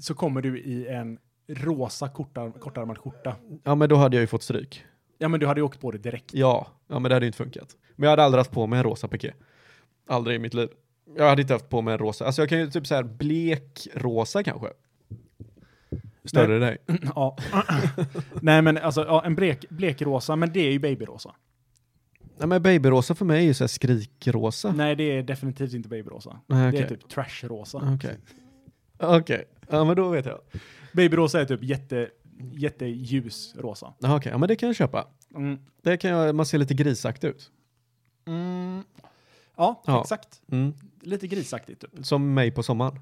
Speaker 1: så kommer du i en rosa kortar, kortärmad skjorta.
Speaker 3: ja men då hade jag ju fått stryk.
Speaker 1: Ja, men du hade ju åkt på det direkt.
Speaker 3: Ja, ja men det hade ju inte funkat. Men jag hade aldrig haft på mig en rosa piké. Aldrig i mitt liv. Jag hade inte haft på mig en rosa, alltså jag kan ju typ så här blek rosa kanske. Större dig.
Speaker 1: ja. (clears throat) Nej men alltså, ja, en blek, blekrosa, men det är ju babyrosa.
Speaker 3: Nej men babyrosa för mig är ju såhär skrikrosa.
Speaker 1: Nej, det är definitivt inte babyrosa.
Speaker 3: Nej,
Speaker 1: Det
Speaker 3: okej.
Speaker 1: är typ trashrosa.
Speaker 3: Okej. Okej. Ja men då vet jag.
Speaker 1: Babyrosa är typ jätte, jätteljus rosa.
Speaker 3: Ja, Okej, ja men det kan jag köpa.
Speaker 1: Mm.
Speaker 3: Det kan jag, man ser lite grisaktig ut.
Speaker 1: Mm. Ja,
Speaker 3: Ja.
Speaker 1: exakt.
Speaker 3: Mm.
Speaker 1: Lite grisaktigt typ.
Speaker 3: Som mig på sommaren.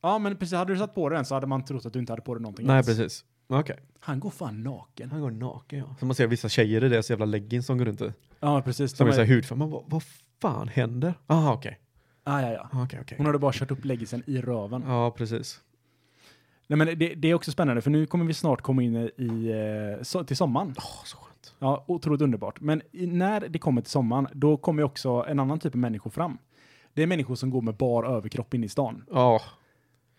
Speaker 1: Ja, men precis. Hade du satt på dig den så hade man trott att du inte hade på dig någonting
Speaker 3: Nej
Speaker 1: alls.
Speaker 3: precis. Okej.
Speaker 1: Han går fan naken.
Speaker 3: Han går naken ja. Så man ser vissa tjejer i deras jävla leggings som går runt i.
Speaker 1: Ja, precis.
Speaker 3: Som
Speaker 1: De
Speaker 3: är
Speaker 1: är-
Speaker 3: såhär hudfärg. Man bara, vad fan händer? Jaha okej.
Speaker 1: Ah, ja, ja.
Speaker 3: Okay. Okej okej.
Speaker 1: Hon hade bara kört upp läggisen i röven.
Speaker 3: Ja precis.
Speaker 1: Nej, men det, det är också spännande, för nu kommer vi snart komma in i, eh, so- till sommaren.
Speaker 3: Åh så skönt.
Speaker 1: Ja, otroligt underbart. Men i, när det kommer till sommaren, då kommer ju också en annan typ av människor fram. Det är människor som går med bar överkropp in i stan.
Speaker 3: Ja.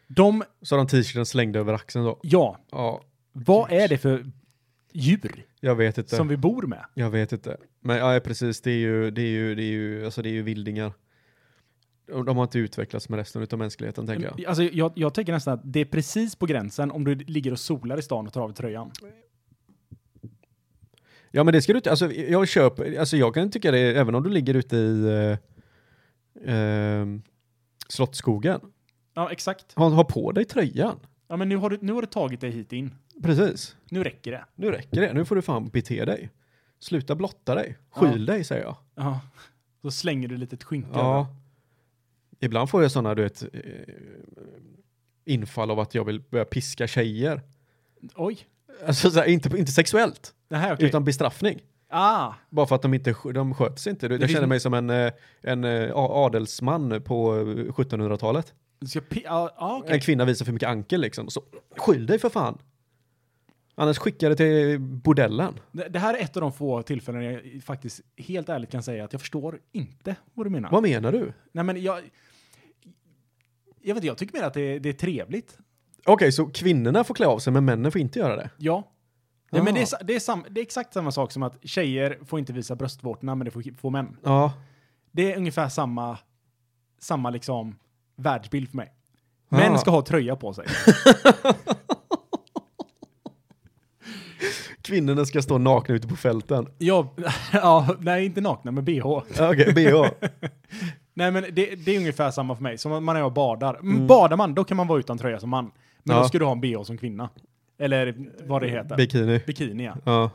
Speaker 1: De,
Speaker 3: Så har de t-shirten slängd över axeln då.
Speaker 1: ja,
Speaker 3: Ja.
Speaker 1: vad är det för djur
Speaker 3: Jag vet inte.
Speaker 1: som vi bor med?
Speaker 3: Jag vet inte. Men ja, precis, det är ju, det är ju, det är ju, alltså det är ju vildingar. De de har inte utvecklats med resten av mänskligheten tänker jag.
Speaker 1: Alltså, jag, jag tänker nästan att det är precis på gränsen om du ligger och solar i stan och tar av tröjan.
Speaker 3: Ja men det ska du inte, alltså jag köper, alltså jag kan tycka det, även om du ligger ute i eh, eh, Slottsskogen.
Speaker 1: Ja, exakt.
Speaker 3: Ha, ha på dig tröjan.
Speaker 1: Ja, men nu har, du, nu har du tagit dig hit in.
Speaker 3: Precis.
Speaker 1: Nu räcker det.
Speaker 3: Nu räcker det, nu får du fan bete dig. Sluta blotta dig. Skyl dig säger jag.
Speaker 1: Ja. Så slänger du lite skynke över.
Speaker 3: Ja. Ibland får jag sådana, du vet, eh, infall av att jag vill börja piska tjejer.
Speaker 1: Oj.
Speaker 3: Alltså så här, inte, inte sexuellt,
Speaker 1: Det här är okej.
Speaker 3: utan bestraffning.
Speaker 1: Ah,
Speaker 3: Bara för att de inte sk- de sköter sig inte. Du- Jag
Speaker 1: finns
Speaker 3: känner
Speaker 1: en-
Speaker 3: mig som en, eh, en eh, a- adelsman på eh, 1700-talet.
Speaker 1: du ska pi- ah, ah, okej.
Speaker 3: En kvinna visar för mycket ankel liksom. Så skyll dig för fan! Annars skickar det till bordellen.
Speaker 1: Det, det här är ett av de få tillfällen jag faktiskt helt ärligt kan säga att jag förstår inte vad du menar.
Speaker 3: Vad menar du? Okej,
Speaker 1: Nej, men jag... Jag vet inte, jag tycker mer att det, det är trevligt.
Speaker 3: så kvinnorna får klä av sig men männen får inte göra det?
Speaker 1: Ja. Nej, men
Speaker 3: Ah.
Speaker 1: det, är, sa- det, är sam, det är exakt samma sak som att tjejer får inte visa bröstvårtorna, men det får, får män.
Speaker 3: Ja,
Speaker 1: Det är ungefär samma, samma liksom världsbild för mig. Män
Speaker 3: Ah.
Speaker 1: ska ha tröja på
Speaker 3: (laughs)
Speaker 1: sig.
Speaker 3: kvinnorna ska stå nakna ute på fälten.
Speaker 1: ja, (laughs) ja, nej, inte nakna, men bh.
Speaker 3: Ja, Okej, bh.
Speaker 1: Nej men det, det är ungefär samma för mig, som att man när jag badar. Mm. Badar man, då kan man vara utan tröja som man. Men
Speaker 3: Ja.
Speaker 1: då ska du ha en bh som kvinna. Eller vad det heter.
Speaker 3: Bikini.
Speaker 1: Bikini ja.
Speaker 3: Ja.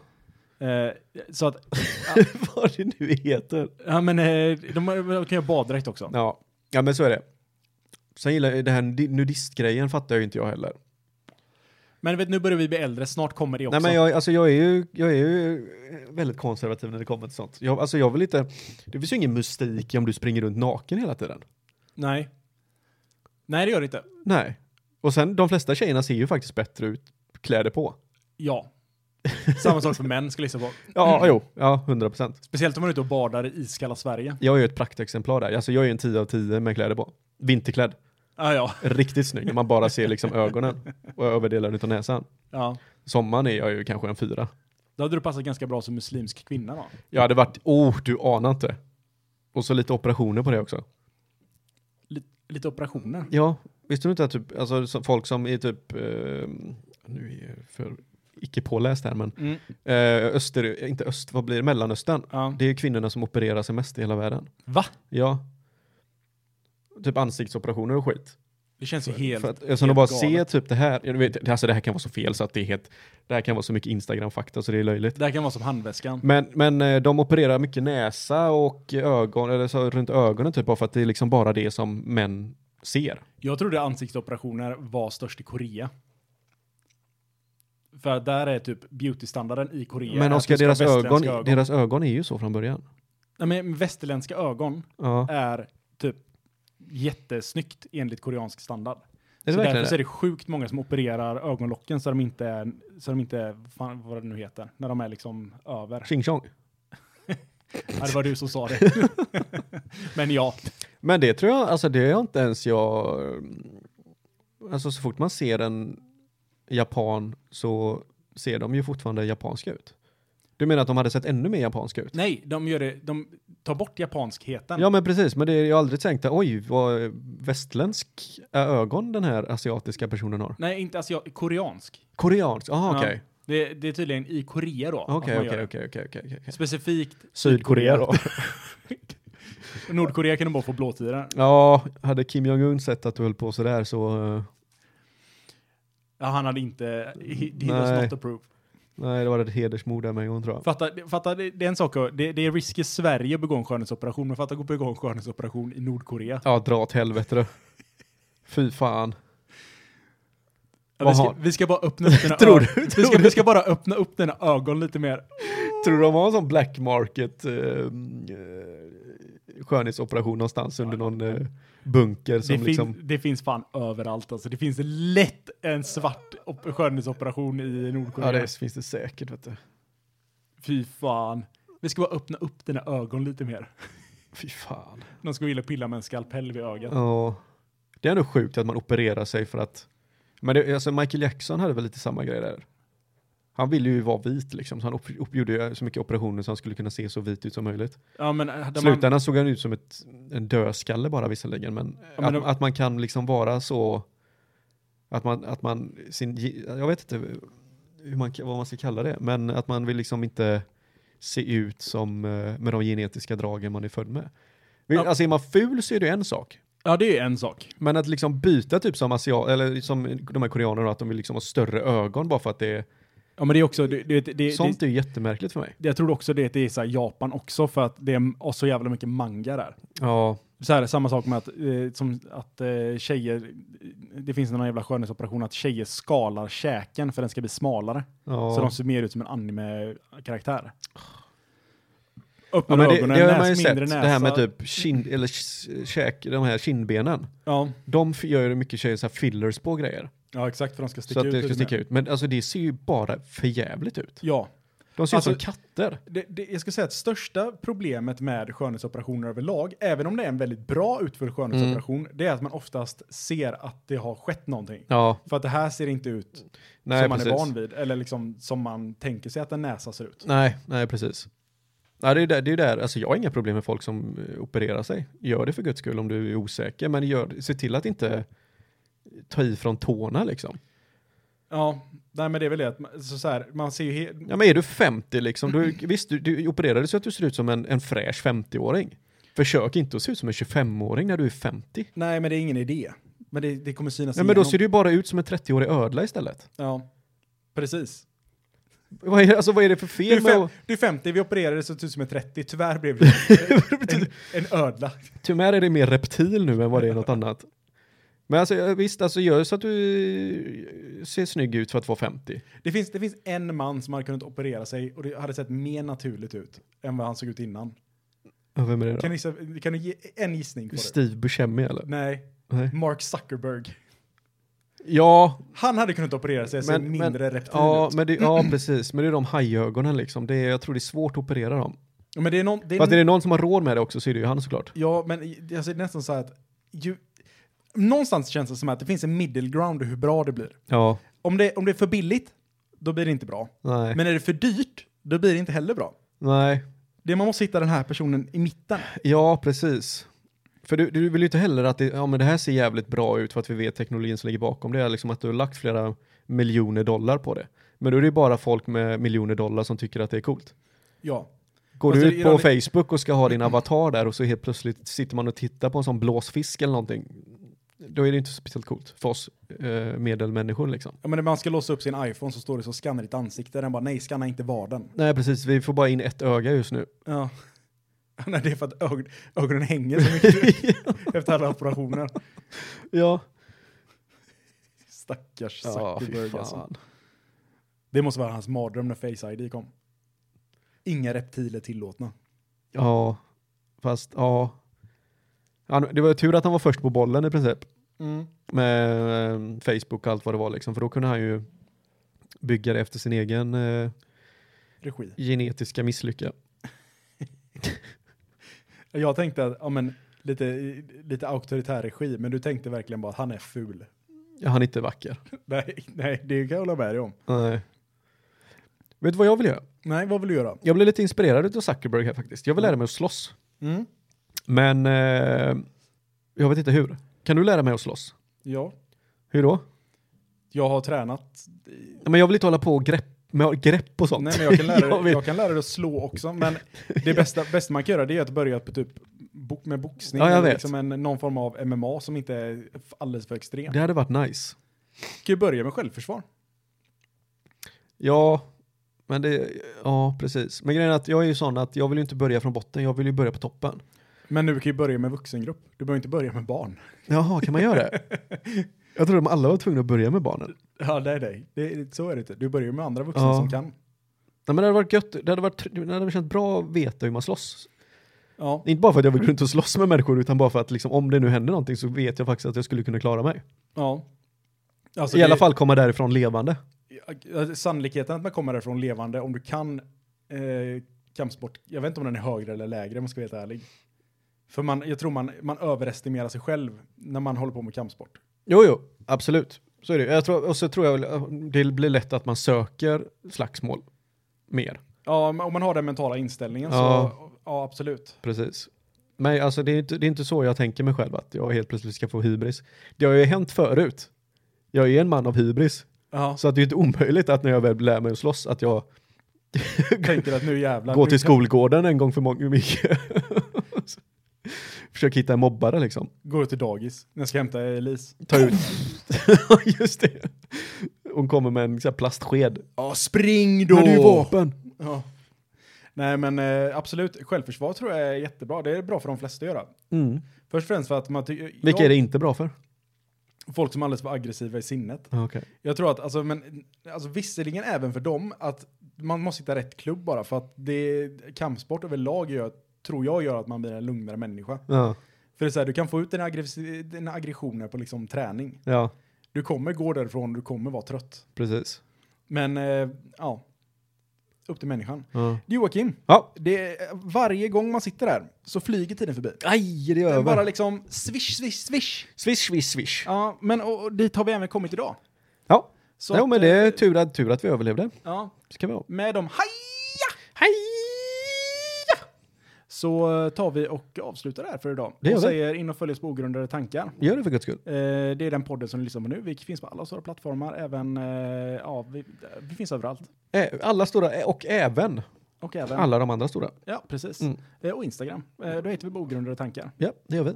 Speaker 1: Eh, så att,
Speaker 3: (laughs) Vad det nu heter.
Speaker 1: ja men eh, de, har- de kan ju ha baddräkt också.
Speaker 3: Ja. ja, men så är det. Sen gillar jag det här nudi- nudistgrejen fattar ju inte jag heller.
Speaker 1: Men vet, nu börjar vi bli äldre, snart kommer det också.
Speaker 3: Nej men jag, alltså, jag, är ju, jag är ju väldigt konservativ när det kommer till sånt. Jag, alltså, jag vill inte, det finns ju ingen mystik om du springer runt naken hela tiden.
Speaker 1: Nej. Nej, det gör det inte.
Speaker 3: Nej. Och sen de flesta tjejerna ser ju faktiskt bättre ut kläder på. (laughs)
Speaker 1: Ja. Samma sak för män skulle jag gissa på.
Speaker 3: Ja, jo, ja, 100 procent.
Speaker 1: Speciellt om man är ute och badar i iskalla Sverige.
Speaker 3: Jag är ju ett praktexemplar där. Alltså jag är ju en 10 av 10 med kläder på. Vinterklädd.
Speaker 1: Ah, ja,
Speaker 3: Riktigt snygg. när Man bara ser liksom ögonen och överdelen utav näsan.
Speaker 1: ja.
Speaker 3: Sommaren är jag ju kanske en fyra.
Speaker 1: Då hade du passat ganska bra som muslimsk kvinna då.
Speaker 3: Jag hade varit, oh, du anar inte. Och så lite operationer på det också.
Speaker 1: Lite, lite operationer.
Speaker 3: Ja, visste du inte att typ, alltså, så- folk som är typ, eh, nu är jag för icke påläst här, men
Speaker 1: Mm.
Speaker 3: eh, öster, inte öst, vad blir det, mellanöstern?
Speaker 1: Ja.
Speaker 3: Det är kvinnorna som opererar sig mest i hela världen.
Speaker 1: Va?
Speaker 3: Ja. Typ ansiktsoperationer och skit.
Speaker 1: Det känns ju helt...
Speaker 3: För att, eftersom de
Speaker 1: helt
Speaker 3: bara ser
Speaker 1: galet.
Speaker 3: typ det här, jag vet, alltså det här kan vara så fel så att det är helt, det här kan vara så mycket Instagram-fakta så det är löjligt.
Speaker 1: Det här kan vara som handväskan.
Speaker 3: Men, men eh, de opererar mycket näsa och ögon, eller så runt ögonen typ, bara för att det är liksom bara det som män ser.
Speaker 1: Jag trodde ansiktsoperationer var störst i Korea. För att där är typ beautystandarden i Korea.
Speaker 3: men
Speaker 1: är att
Speaker 3: Oskar,
Speaker 1: du ska ha
Speaker 3: deras ögon,
Speaker 1: västerländska
Speaker 3: deras ögon är ju så från början.
Speaker 1: Nej, men västerländska ögon
Speaker 3: Ja.
Speaker 1: är typ jättesnyggt enligt koreansk standard.
Speaker 3: Är det
Speaker 1: så
Speaker 3: verkligen
Speaker 1: därför
Speaker 3: det?
Speaker 1: så är det sjukt många som opererar ögonlocken så de inte är, så de inte är, fan, vad det nu heter, när de är liksom över.
Speaker 3: Tjing tjong.
Speaker 1: Ja, det var du som sa
Speaker 3: (laughs)
Speaker 1: det. men ja,
Speaker 3: Men det tror jag, alltså det är inte ens jag... Alltså så fort man ser en japan så ser de ju fortfarande japanska ut. Du menar att de hade sett ännu mer japanska ut?
Speaker 1: Nej, de, gör det, de tar bort japanskheten.
Speaker 3: Ja men precis, men det är jag har aldrig tänkt att oj vad västländsk ögon den här asiatiska personen har.
Speaker 1: Nej, inte alltså jag, koreansk.
Speaker 3: Koreansk, aha
Speaker 1: Ja.
Speaker 3: okej.
Speaker 1: Det, det är tydligen i Korea då. att
Speaker 3: Okej,
Speaker 1: man gör
Speaker 3: okej,
Speaker 1: det.
Speaker 3: okej, okej, okej, okej.
Speaker 1: Specifikt
Speaker 3: Sydkorea då?
Speaker 1: Nordkorea kan de bara få blåtira.
Speaker 3: (laughs) ja, hade Kim Jong-Un sett att du höll på sådär så, eh,
Speaker 1: Ja, han hade inte, he, he does
Speaker 3: Nej.
Speaker 1: not approve.
Speaker 3: nej det var ett hedersmord där med en gång tror jag.
Speaker 1: Fatta, fatta det, det är en sak, att- det, det är risk i Sverige att begå en skönhetsoperation, men fatta att begå en skönhetsoperation i Nordkorea.
Speaker 3: Ja, dra åt helvete du. Fy fan.
Speaker 1: Ja, vi,
Speaker 3: Vad
Speaker 1: ska,
Speaker 3: har-
Speaker 1: vi ska bara öppna upp dina
Speaker 3: (laughs) Tror
Speaker 1: ögon.
Speaker 3: du-
Speaker 1: Vi ska, vi ska bara öppna upp dina ögon lite mer.
Speaker 3: Tror du de har en sån black market eh, eh, skönhetsoperation någonstans under någon eh, bunker
Speaker 1: Det,
Speaker 3: som
Speaker 1: fin,
Speaker 3: liksom...
Speaker 1: det finns fan överallt alltså. Det finns lätt en svart op- skönhetsoperation i Nordkorea.
Speaker 3: Ja, det finns det säkert vet du.
Speaker 1: Fy fan. Vi ska bara öppna upp dina ögon lite mer.
Speaker 3: Fy fan.
Speaker 1: De ska vilja pilla med en skalpell vid ögat.
Speaker 3: Ja. Det är nog sjukt att man opererar sig för att... Men det, alltså Michael Jackson hade väl lite samma grej där. Han ville ju vara vit liksom, så han op- op- gjorde ju så mycket operationer så han skulle kunna se så vit ut som möjligt.
Speaker 1: Ja, men, äh, hade man,
Speaker 3: slutändan såg han ut som ett, en dödskalle bara visserligen, men,
Speaker 1: Ja, men
Speaker 3: att,
Speaker 1: de-
Speaker 3: att man kan liksom vara så att man, att man sin, ge- jag vet inte hur man, kan- vad man ska kalla det, men att man vill liksom inte se ut som eh, med de genetiska dragen man är född med. Vi-
Speaker 1: Ja.
Speaker 3: Alltså är man ful så är det en sak,
Speaker 1: ja, det är en sak.
Speaker 3: men att liksom byta typ som asiat, eller som de här koreanerna, att de vill liksom ha större ögon bara för att det är,
Speaker 1: Ja, men det är också, det, det, det, det,
Speaker 3: sånt är ju jättemärkligt för mig.
Speaker 1: jag tror också det, det är så här Japan också för att det är så jävla mycket manga där.
Speaker 3: Ja,
Speaker 1: Så här, samma sak med att, eh, som, att eh, tjejer, det finns någon jävla skönhetsoperation att tjejer skalar käken för den ska bli smalare.
Speaker 3: ja.
Speaker 1: Så de ser mer ut som en anime-karaktär.
Speaker 3: Ja,
Speaker 1: Öppnar
Speaker 3: men det,
Speaker 1: ögonen,
Speaker 3: det har
Speaker 1: näs,
Speaker 3: man ju sett,
Speaker 1: mindre näsa.
Speaker 3: det här med typ kind, eller sh- käk, de här kindbenen.
Speaker 1: Ja,
Speaker 3: De f- gör ju mycket tjejer så här fillers på grejer.
Speaker 1: ja exakt för de ska
Speaker 3: Så
Speaker 1: sticka
Speaker 3: att
Speaker 1: ut.
Speaker 3: det ska
Speaker 1: lite
Speaker 3: sticka
Speaker 1: mer.
Speaker 3: ut. Men alltså det ser ju bara för jävligt ut.
Speaker 1: Ja,
Speaker 3: De ser ut
Speaker 1: Alltså-
Speaker 3: som katter.
Speaker 1: det, det, jag ska säga att största problemet med skönhetsoperationer överlag, även om det är en väldigt bra utförd skönhetsoperation,
Speaker 3: Mm.
Speaker 1: det är att man oftast ser att det har skett någonting.
Speaker 3: Ja,
Speaker 1: För att det här ser inte ut
Speaker 3: nej
Speaker 1: som man
Speaker 3: precis.
Speaker 1: är van vid, eller liksom som man tänker sig att en näsa ser ut.
Speaker 3: Nej, nej precis. Nej, det är ju där, det är ju där, alltså jag har inga problem med folk som eh, opererar sig. Gör det för guds skull om du är osäker, men gör, se till att inte ta i från tårna liksom.
Speaker 1: Ja, nej men det är väl det att man, så, så här, man ser ju he-
Speaker 3: Ja men är du 50
Speaker 1: (clears throat)
Speaker 3: liksom, du, visst du, du opererade så att du ser ut som en, en fräsch 50-åring. Försök inte att se ut som en 25-åring när du är 50.
Speaker 1: Nej men det är ingen idé. Men det, det kommer synas
Speaker 3: Nej men då
Speaker 1: igenom.
Speaker 3: ser du ju bara ut som en 30-årig ödla istället.
Speaker 1: Ja, precis.
Speaker 3: Vad är, alltså vad är det för
Speaker 1: Du är,
Speaker 3: fel med
Speaker 1: fem,
Speaker 3: att-
Speaker 1: du är 50, vi opererade så att du ser ut som är 30. Tyvärr
Speaker 3: (laughs)
Speaker 1: blev du en, en ödla.
Speaker 3: Tyvärr är det mer reptil nu än vad det är något annat. Men alltså ja, visst, alltså gör så att du eh, ser snygg ut för att vara 50.
Speaker 1: Det finns, det finns en man som hade kunnat operera sig och det hade sett mer naturligt ut än vad han såg ut innan.
Speaker 3: Ja, vem är det då?
Speaker 1: Kan du, gissa- kan du ge en gissning på det?
Speaker 3: Steve Buscemi eller?
Speaker 1: Nej,
Speaker 3: Nej.
Speaker 1: Mark Zuckerberg.
Speaker 3: Ja,
Speaker 1: Han hade kunnat operera sig och se
Speaker 3: men,
Speaker 1: mindre
Speaker 3: men,
Speaker 1: reptil
Speaker 3: ja,
Speaker 1: ut.
Speaker 3: men det, (clears throat) ja precis, men det är de hajögonen liksom. Det är, jag tror det är svårt att operera dem.
Speaker 1: Ja, Men det är någon, det är
Speaker 3: Fast är det någon som har råd med det också så är det ju han såklart.
Speaker 1: Ja, men alltså, det är nästan så här att... Ju, någonstans känns det som att det finns en middle ground i hur bra det blir.
Speaker 3: Ja,
Speaker 1: Om det, om det är för billigt, då blir det inte bra.
Speaker 3: nej.
Speaker 1: Men är det för dyrt, då blir det inte heller bra.
Speaker 3: nej.
Speaker 1: Det man måste hitta den här personen i mitten.
Speaker 3: Ja, precis. För du, du vill ju inte heller att det, ja, men det här ser jävligt bra ut för att vi vet teknologin som ligger bakom. Det är liksom att du har lagt flera miljoner dollar på det. Men då är det ju bara folk med miljoner dollar som tycker att det är coolt.
Speaker 1: Ja.
Speaker 3: Går
Speaker 1: Fast
Speaker 3: du
Speaker 1: det
Speaker 3: ut
Speaker 1: är
Speaker 3: på
Speaker 1: ironi-
Speaker 3: Facebook och ska ha din avatar där och så helt plötsligt sitter man och tittar på en sån blåsfisk eller någonting. Då är det inte speciellt coolt för oss eh, medelmänniskor liksom.
Speaker 1: ja men när man ska låsa upp sin iPhone så står det så skanna ditt ansikte. Den bara nej, skanna inte varden.
Speaker 3: Nej, precis. Vi får bara in ett öga just nu.
Speaker 1: Ja. (laughs) Nej, det är för att ög ögonen hänger så mycket (laughs)
Speaker 3: (laughs)
Speaker 1: efter alla operationer.
Speaker 3: ja.
Speaker 1: Stackars
Speaker 3: Ja, fy
Speaker 1: Zuckerberg alltså.
Speaker 3: fan.
Speaker 1: Det måste vara hans mardröm när Face ID kom. Inga reptiler tillåtna.
Speaker 3: Ja, fast ja. Han, det var ju tur att han var först på bollen i princip.
Speaker 1: Mm.
Speaker 3: Med eh, Facebook och allt vad det var liksom. För då kunde han ju bygga det efter sin egen eh,
Speaker 1: Regi.
Speaker 3: genetiska misslycka.
Speaker 1: Jag tänkte att, ja men, lite, lite auktoritär regi, men du tänkte verkligen bara att han är ful. (laughs)
Speaker 3: Ja, han är inte vacker.
Speaker 1: Nej, nej det kan jag hålla med dig om.
Speaker 3: Nej. Vet du vad jag vill göra?
Speaker 1: Nej, vad vill du göra?
Speaker 3: Jag blev lite inspirerad av Zuckerberg här faktiskt. Jag vill lära mig att slåss.
Speaker 1: Mm.
Speaker 3: Men eh, jag vet inte hur. Kan du lära mig att slåss?
Speaker 1: Ja,
Speaker 3: Hur då?
Speaker 1: jag har tränat.
Speaker 3: Ja, Men jag vill inte hålla på och grepp, med grepp och sånt.
Speaker 1: Nej, men jag kan (laughs)
Speaker 3: (laughs)
Speaker 1: lära,
Speaker 3: jag
Speaker 1: dig,
Speaker 3: vet.
Speaker 1: jag kan lära dig att slå också, men det bästa, bästa man kan göra det är att börja på typ bo- med boxning.
Speaker 3: Ja, jag
Speaker 1: eller
Speaker 3: vet.
Speaker 1: Liksom en, någon form av MMA som inte är f- alldeles för extrem.
Speaker 3: Det hade varit nice.
Speaker 1: Du kan ju börja med självförsvar.
Speaker 3: Ja, men det, ja precis. Men grejen är att jag är ju sån att jag vill ju inte börja från botten, jag vill ju börja på toppen.
Speaker 1: Men nu kan ju börja med vuxengrupp. Du behöver inte börja med barn.
Speaker 3: Jaha, kan man göra (laughs) det? Jag trodde de alla var tvungna att börja med barnen.
Speaker 1: (laughs) Ja, det är dig. Det, så är det inte. Du börjar ju med andra vuxna
Speaker 3: Ja.
Speaker 1: som kan.
Speaker 3: Nej men det hade varit gött, det hade, varit, tr- det hade känts bra att veta hur man slåss.
Speaker 1: Ja,
Speaker 3: Inte bara för att jag vill gå runt och slåss med människor utan bara för att liksom, om det nu händer någonting så vet jag faktiskt att jag skulle kunna klara mig.
Speaker 1: ja. Alltså,
Speaker 3: I
Speaker 1: det-
Speaker 3: alla fall komma därifrån levande.
Speaker 1: Ja, Sannolikheten att man kommer därifrån levande om du kan eh, kampsport, jag vet inte om den är högre eller lägre om jag ska vara helt ärlig. För man, jag tror man, man överestimerar sig själv när man håller på med kampsport.
Speaker 3: Jo, jo, absolut. Så är det. Jag tror, och så tror jag väl- det blir lätt att man söker slagsmål mer.
Speaker 1: Ja, men om man har den mentala inställningen
Speaker 3: Ja.
Speaker 1: så, ja absolut.
Speaker 3: Precis. Men alltså det är, inte, det är inte så jag tänker mig själv att jag helt plötsligt ska få hybris. Det har ju hänt förut. Jag är en man av hybris.
Speaker 1: Ja.
Speaker 3: Så att det är inte omöjligt att när jag väl lär mig att slåss att jag
Speaker 1: Tänker att nu jävlar.
Speaker 3: går
Speaker 1: nu
Speaker 3: till
Speaker 1: kan-
Speaker 3: skolgården en gång för många (laughs) mycket. Försöker hitta en mobbare liksom.
Speaker 1: Går till dagis när jag ska hämta Elise.
Speaker 3: Ta ut. (laughs) Just det. Hon kommer med en sån här plastsked.
Speaker 1: Ja, spring
Speaker 3: Men det är ju vapen.
Speaker 1: Ja. Nej, men eh, absolut. Självförsvar tror jag är jättebra. Det är bra för de flesta att göra.
Speaker 3: Mm.
Speaker 1: Först och främst för att man tycker...
Speaker 3: Vilka är det inte bra för?
Speaker 1: Folk som är alldeles för aggressiva i sinnet.
Speaker 3: Ah, okej.
Speaker 1: Jag tror att, alltså, men, alltså visserligen även för dem, att man måste hitta rätt klubb bara för att det, kampsport överlag gör, tror jag gör att man blir en lugnare människa.
Speaker 3: Ja,
Speaker 1: För det är så här, du kan få ut dina, aggress- dina aggressioner på liksom träning.
Speaker 3: ja,
Speaker 1: Du kommer gå därifrån, du kommer vara trött.
Speaker 3: precis.
Speaker 1: Men, eh, ja. Upp till människan.
Speaker 3: Ja.
Speaker 1: Joakim,
Speaker 3: Ja.
Speaker 1: det, varje gång man sitter där så flyger tiden förbi.
Speaker 3: Aj, det är
Speaker 1: Den bara
Speaker 3: över.
Speaker 1: liksom swish, swish, swish.
Speaker 3: Swish, swish, swish.
Speaker 1: Ja, men och, och dit har vi även kommit idag.
Speaker 3: Ja,
Speaker 1: Så
Speaker 3: jo,
Speaker 1: att,
Speaker 3: men det är
Speaker 1: eh,
Speaker 3: tur att, tur att vi överlevde.
Speaker 1: Ja,
Speaker 3: Ska vi ha.
Speaker 1: med de haja! Så eh, tar vi och avslutar där för idag.
Speaker 3: Det gör
Speaker 1: och
Speaker 3: vi.
Speaker 1: säger in och följ oss på ogrundade tankar.
Speaker 3: Gör det för guds skull.
Speaker 1: Eh, det är den podden som du lyssnar på nu. Vi finns på alla stora plattformar, även, eh, ja, vi, vi finns överallt.
Speaker 3: Ä- Eh, Alla stora, ä- och även
Speaker 1: Och även,
Speaker 3: alla de andra stora.
Speaker 1: ja precis.
Speaker 3: Mm.
Speaker 1: Eh, och Instagram. Eh, då heter vi på ogrundade tankar.
Speaker 3: Ja, det gör vi.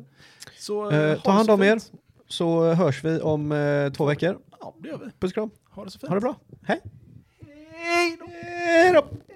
Speaker 1: Så
Speaker 3: Eh,
Speaker 1: ha
Speaker 3: ta
Speaker 1: det
Speaker 3: hand
Speaker 1: så
Speaker 3: om er.
Speaker 1: fint.
Speaker 3: Så hörs vi om eh, två veckor.
Speaker 1: Ja, det gör vi.
Speaker 3: Puss och kram.
Speaker 1: Ha det så fint.
Speaker 3: Ha det bra. Hej.
Speaker 1: Hej då!
Speaker 3: Hej då.